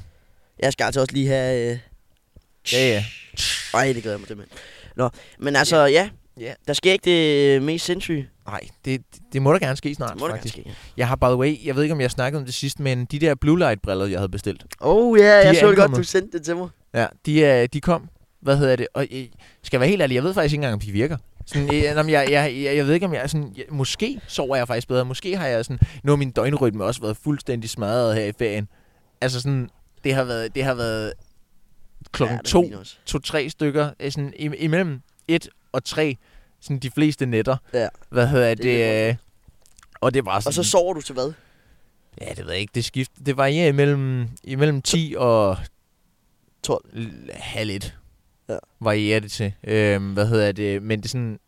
Jeg skal altså også lige have... Øh... Ja, ja. Ej, det glæder jeg mig til, mand. Nå, men altså, ja. Ja. ja. Der sker ikke det øh, mest sindssyge. Nej, det, det må da gerne ske snart, det må da gerne faktisk. ske. ja. Jeg har, by the way, jeg ved ikke, om jeg snakkede om det sidst, men de der blue light briller, jeg havde bestilt. Oh ja, yeah, er jeg så godt, ankommet. du sendte det til mig. Ja, de, er, de kom. Hvad hedder det? Og jeg skal jeg være helt ærlig, jeg ved faktisk ikke engang, om de virker. Sådan, jeg, jeg, jeg, jeg, jeg ved ikke, om jeg, sådan, jeg... Måske sover jeg faktisk bedre. Måske har jeg sådan... Nu har min døgnrytme også været fuldstændig smadret her i ferien. Altså sådan... Det har været... Det har været klokken ja, det er to, fint også. to-tre stykker. øh, Sådan, im- imellem et og tre. Sådan de fleste nætter. Ja. Hvad hedder Det kan jeg det? øh, Og det var sådan... Og så sover du til hvad? Ja, det ved jeg ikke. Det, skift, det varierer imellem, imellem 10 og 12. l- halv et. Ja. Varierer det til. Øhm, hvad hedder det? Men det er sådan...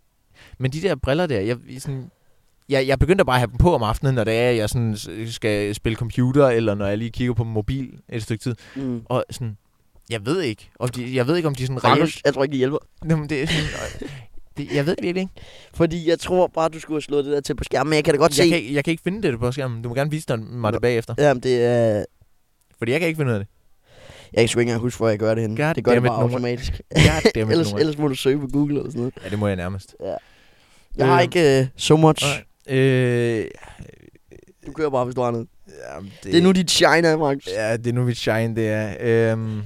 Men de der briller der, jeg, jeg sådan, jeg, jeg begyndte bare at have dem på om aftenen, når det er, jeg sådan s- skal spille computer, eller når jeg lige kigger på min mobil et stykke tid. Mm. Og sådan, jeg ved ikke, om de, jeg ved ikke, om de er sådan Markus, reelt... jeg tror ikke, det hjælper. Nå, men det er sådan, øh, det, jeg ved det virkelig ikke. Fordi jeg tror bare, du skulle have slået det der til på skærmen, men jeg kan da godt se. Jeg kan, ikke- jeg kan ikke finde det på skærmen. Du må gerne vise dig Nå. mig det bagefter. Jamen, det er... Fordi jeg kan ikke finde ud af det. Jeg kan sgu ikke engang huske, hvor jeg gør det henne. God det gør det damn it, bare Nora. automatisk. Goddammit, ellers, Nora. ellers må du søge på Google eller sådan noget. Ja, det må jeg nærmest. Jeg har Øhm. ikke uh, so much. Nej. Øh, Du kører bare, hvis du har noget. ja, det, Det er nu dit shine er, Markus. Ja, det er nu mit shine, det er. Øhm,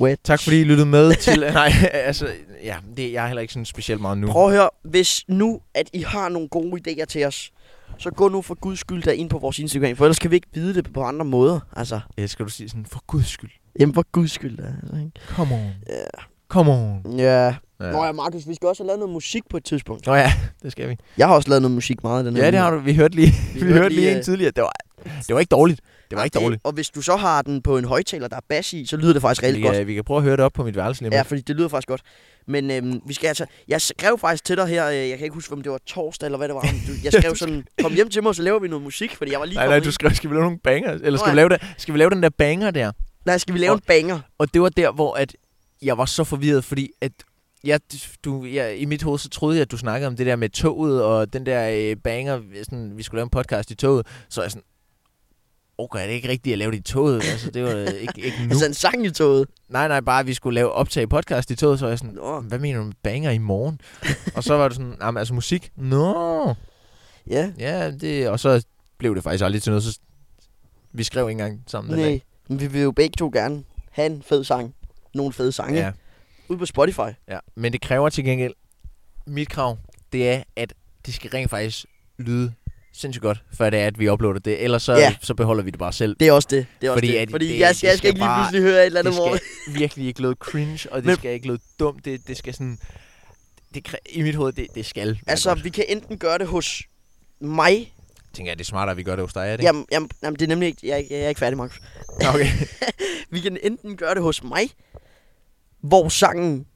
Wet. tak fordi I lyttede med til... nej, altså, ja, det, jeg er heller ikke sådan specielt meget nu. Prøv at høre, hvis nu, at I har nogle gode idéer til os, så gå nu for guds skyld derind på vores Instagram, for ellers kan vi ikke vide det på andre måder. Altså, Ja, skal du sige sådan, for guds skyld. jamen for guds skyld da. Altså, ikke? Come on. Ja. Come on. ja. Ja. Nå ja, Markus, vi skal også have lavet noget musik på et tidspunkt. Nå ja, det skal vi. Jeg har også lavet noget musik meget i den her Ja, det har du. Vi hørte lige, vi hørte lige en øh, tidligere. Det var, det var ikke dårligt. Det var ikke det- dårligt. Og hvis du så har den på en højtaler, der er bass i, så lyder det faktisk Altså, rigtig Vi, godt. øh, vi kan prøve at høre det op på mit værelse lige om Ja, lidt. fordi det lyder faktisk godt. Men øhm, vi skal altså... Jeg skrev faktisk til dig her, øh, jeg kan ikke huske, om det var torsdag eller hvad det var. men Du, jeg skrev sådan, kom hjem til mig, så laver vi noget musik, fordi jeg var lige Nej, nej, kommet du ind. skal, skal vi lave nogle banger? Eller skal Nå, vi, lave det, skal vi lave den der banger der? Nej, skal vi lave en banger? Og det var der, hvor at jeg var så forvirret, fordi at jeg, du, jeg, i mit hoved, så troede jeg, at du snakkede om det der med toget, og den der øh, banger, sådan, vi skulle lave en podcast i toget, så er jeg sådan, okay, det er ikke rigtigt at lave det i toget, altså det var øh, ikke, ikke nu. Altså en sang i toget. nej, nej, bare at vi skulle lave optage podcast i toget, så er jeg sådan, Nå, hvad mener du med banger i morgen? og så var du sådan, nej, men altså musik, nå, ja. ja, det, og så blev det faktisk aldrig til noget, så vi skrev ikke engang sammen den Nej, men vi vil jo begge to gerne have en fed sang. Nogle fede dag. sange. Ja. Ja. Ude på Spotify. Ja, men det kræver til gengæld, mit krav, det er, at det skal rent faktisk lyde sindssygt godt, før det er, at vi uploader det. Ellers så, Ja. så beholder vi det bare selv. Det er også det. det er også Fordi fordi, at det. Fordi det- det, jeg, det skal, jeg skal skal ikke lige bare- pludselig høre et eller andet, Det hvor... skal virkelig ikke lyde cringe, og det Men- men, skal ikke lyde dumt. Det, det skal sådan... Det kræ- I mit hoved, det, det skal være Altså, godt. vi kan enten gøre det hos mig. Tænker jeg, det er smartere, at vi gør det hos dig, er det? ikke? Jamen, jamen, jamen, det er nemlig ikke... Jeg, jeg, jeg er ikke færdig, Markus. Okay. Vi kan enten gøre det hos mig, hvor sangen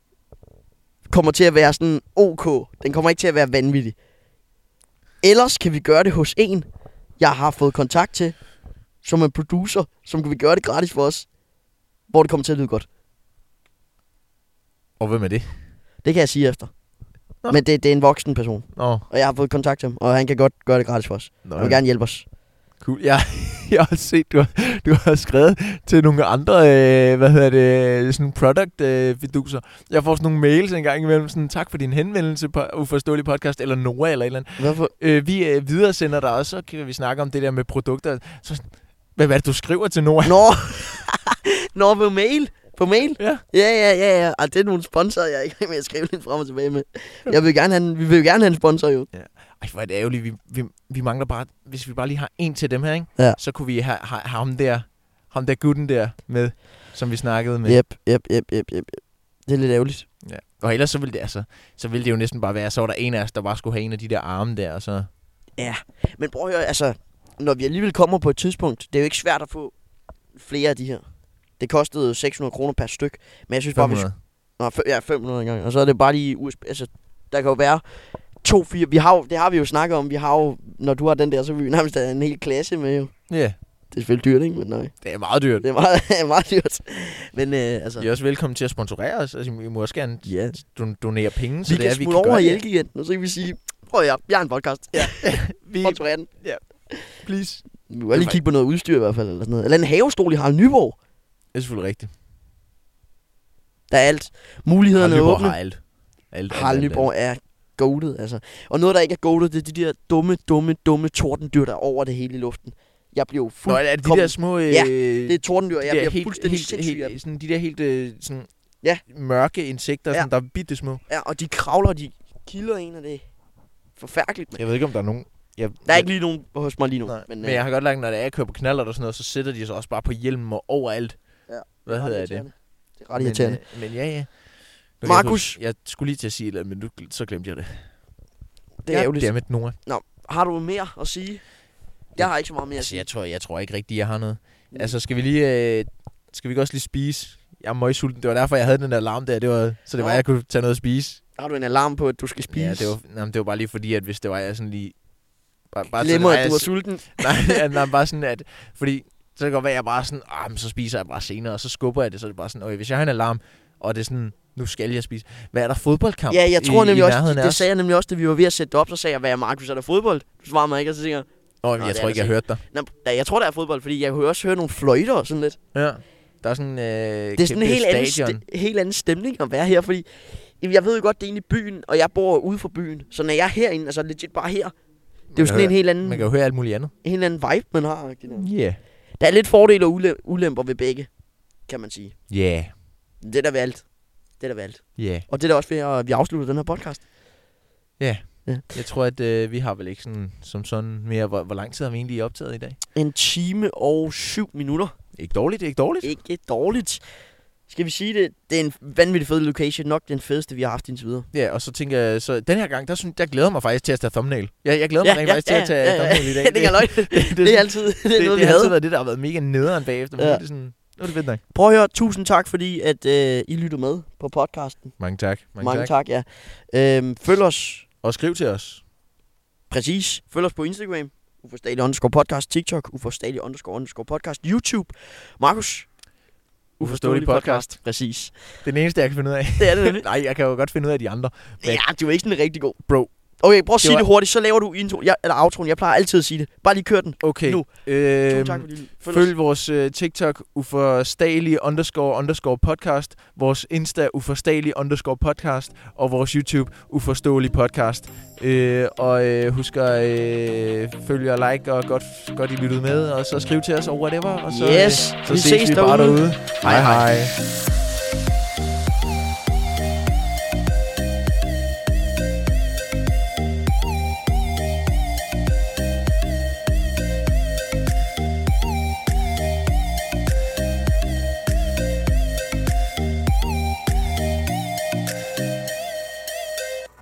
kommer til at være sådan ok. Den kommer ikke til at være vanvittig. Ellers kan vi gøre det hos en, jeg har fået kontakt til, som er producer, som kan vi gøre det gratis for os, hvor det kommer til at lyde godt. Og hvem er det? Det kan jeg sige efter. Nå. Men det, det er en voksen person, Nå, og jeg har fået kontakt til ham, og han kan godt gøre det gratis for os. Nå Han vil gerne hjælpe os. cool. Jeg, jeg har også set, du har, du har skrevet til nogle andre, øh, hvad hedder det, sådan product øh, fiduser. Jeg får sådan nogle mails en gang imellem, sådan tak for din henvendelse på Uforståelig Podcast, eller Nora eller et eller andet. Hvorfor? Øh, vi øh, videresender dig også, så kan vi snakke om det der med produkter. Så sådan, "Hva- Hvad, hvad er det, du skriver til Nora? Nå, Nå på mail. På mail? Ja. Ja, ja, ja, ja. Og det er nogle sponsorer, jeg er ikke med at skrive lidt frem og tilbage med. Jeg vil gerne have en, vi vil jo gerne have en sponsor, jo. Ej, hvor er det ærgerligt. Vi, vi, vi mangler bare... Hvis vi bare lige har en til dem her, ikke? Ja. Så kunne vi have, have, have ham der... Ham der gutten der med, som vi snakkede med. Yep, yep, yep, yep, yep. Det er lidt ærgerligt. Ja. Og ellers så ville det, altså, så ville det jo næsten bare være, så var der en af os, der bare skulle have en af de der arme der, og så... Men prøv at høre, altså, når vi alligevel kommer på et tidspunkt, det er jo ikke svært at få flere af de her. Det kostede 600 kroner per styk, men jeg synes bare, vi 500. Nå, fem, ja, 500 engang. Og så er det bare lige USB. Altså, der kan jo være to, fire. Vi har jo, det har vi jo snakket om. Vi har jo, når du har den der, så vil vi nærmest have en hel klasse med jo. Ja, yeah. Det er selvfølgelig dyrt, ikke? Men nej. det er meget dyrt. Det er meget, meget dyrt. Men øh, altså, I er også velkommen til at sponsorere os. Altså, I må også gerne ja. don- donere penge, så Vi det kan er, vi smutte over gøre og det. hjælpe igen. Nu så kan vi sige, prøv at høre, jeg har en podcast. Ja, Vi, sponsorer den. please. Vi må lige kigge på noget udstyr i hvert fald. Eller, sådan noget. eller en havestol i Harald Nyborg. Det er selvfølgelig rigtigt. Der er alt. Mulighederne er Harald Nyborg åbne. har alt. alt, alt, Harald alt, alt. Nyborg er goated, altså. Og noget, der ikke er goated, det er de der dumme, dumme, dumme tordendyr, der er over det hele i luften. Jeg bliver jo Nå, fuld... er det de Kom- der små... Øh, Ja, det det er tordendyr, jeg der bliver helt, fuldstændig helt, sindssyg af dem. helt, sådan, De der helt øh, sådan, Ja. mørke insekter, Ja. ja. sådan, der er bitte små. Ja, og de kravler, og de kilder en, og det er forfærdeligt. Men. Jeg ved ikke, om der er nogen... Jeg, Der er ikke lige nogen hos mig lige nu. Nej, men, Men, øh, men jeg har godt lagt, når det er, jeg kører på knaller og sådan noget, så sætter de sig også bare på hjelmen og overalt. Ja. Hvad hedder det? Det er ret irriterende. Men, øh, men ja, ja. Nu kan Markus? Jeg, huske- jeg skulle lige til at sige et eller andet, men nu, gl- så glemte jeg det. Det er ærgerligt. Goddammit, Nora. Har du mere at sige? Jeg har ikke så meget mere at Altså, sige. jeg tror, jeg tror ikke rigtigt, jeg har noget. Mm. Altså, skal vi lige... Øh, skal vi ikke også lige spise? Jeg er møgsulten. Det var derfor, jeg havde den der alarm der. Det var, så det var, Nå. jeg kunne tage noget at spise. Har du en alarm på, at du skal spise? Ja, det var, nej, men det var bare lige fordi, at hvis det var, jeg sådan lige... Bare, bare Glemmer, sådan, at du er sulten. nej, ja, nej, bare sådan, at... Fordi så kan det godt være, at jeg bare sådan... Ah, men så spiser jeg bare senere, og så skubber jeg det. Så er det bare sådan, okay, hvis jeg har en alarm, og det er sådan... Nu skal jeg spise. Hvad er der fodboldkamp Ja, jeg tror i, nemlig i også, nærheden af det os? sagde jeg nemlig også, da vi var ved at sætte det op, så sagde jeg, hvad er Markus, er der fodbold? Du svarer mig ikke, og så tænker jeg, Nå, Nå, jeg det altså tror er ikke, der jeg hørte dig. "Nå, da- jeg tror, der er fodbold, fordi jeg kunne også høre nogle fløjter og sådan lidt. Ja. Der er sådan, øh, Det er sådan en helt anden, stadion. ste- helt anden stemning at være her, fordi jamen, jeg ved jo godt, det er inde i byen, og jeg bor ude for byen. Så når jeg er herinde, altså legit bare her, det er jo Man sådan kan en helt anden, Man kan jo høre alt muligt andet. en helt anden vibe, man har. ikke? Ja. Yeah. Der er lidt fordele og ule- ulemper ved begge, kan man sige. Ja. Yeah. Men Det er der ved alt. Det er der ved alt. Ja. Yeah. Og det er da også ved, at vi afslutter den her podcast. Jeg tror, at øh, vi har vel ikke sådan, som sådan mere... Hvor, hvor lang tid har vi egentlig optaget i dag? En time og syv minutter. Ikke dårligt, ikke dårligt. Ikke dårligt. Skal vi sige det? Det er en vanvittig fed location. Nok den fedeste, vi har haft indtil videre. Ja, og så tænker jeg... Så den her gang, der, synes, der glæder jeg mig faktisk til at tage thumbnail. Jeg, jeg glæder Ja, mig ja, rent ja, faktisk ja, til ja, at tage ja, ja. thumbnail i dag. det, er løgn. det, det er sådan- altid det, er noget, vi det har havde. altid været det, der har været mega nederen bagefter. Men Ja. ja. det er sådan, nu er det fedt nok. Prøv at høre, tusind tak, fordi at øh, I lyttede med på podcasten. Mange tak. Mange, Mange tak. tak ja. øhm, følg os, Og skriv til os. præcis, følg os på Instagram, uforståelig underscore podcast, TikTok, uforståelig underscore underscore podcast, YouTube. Markus, Uforståelig podcast. Præcis. Det er den eneste, jeg kan finde ud af. Det er det nemlig. Nej, jeg kan jo godt finde ud af de andre. ja, du er ikke sådan rigtig god. Bro. Okay, prøv at Det sige var- det hurtigt, så laver du intro, jeg, eller outroen. Jeg plejer altid at sige det. Bare lige kør den. Okay. Nu. Øhm, Tusind tak, fordi du følg, følg Følg vores øh, TikTok uforstagelige underscore underscore podcast, vores Insta uforstagelige underscore podcast og vores YouTube uforståelig podcast. Øh, og øh, husk at øh, følge og like og godt, godt I lyttede med, og så skriv til os over whatever, og så, Yes. øh, så Vi ses, ses vi bare derude. derude. Hej hej. hej.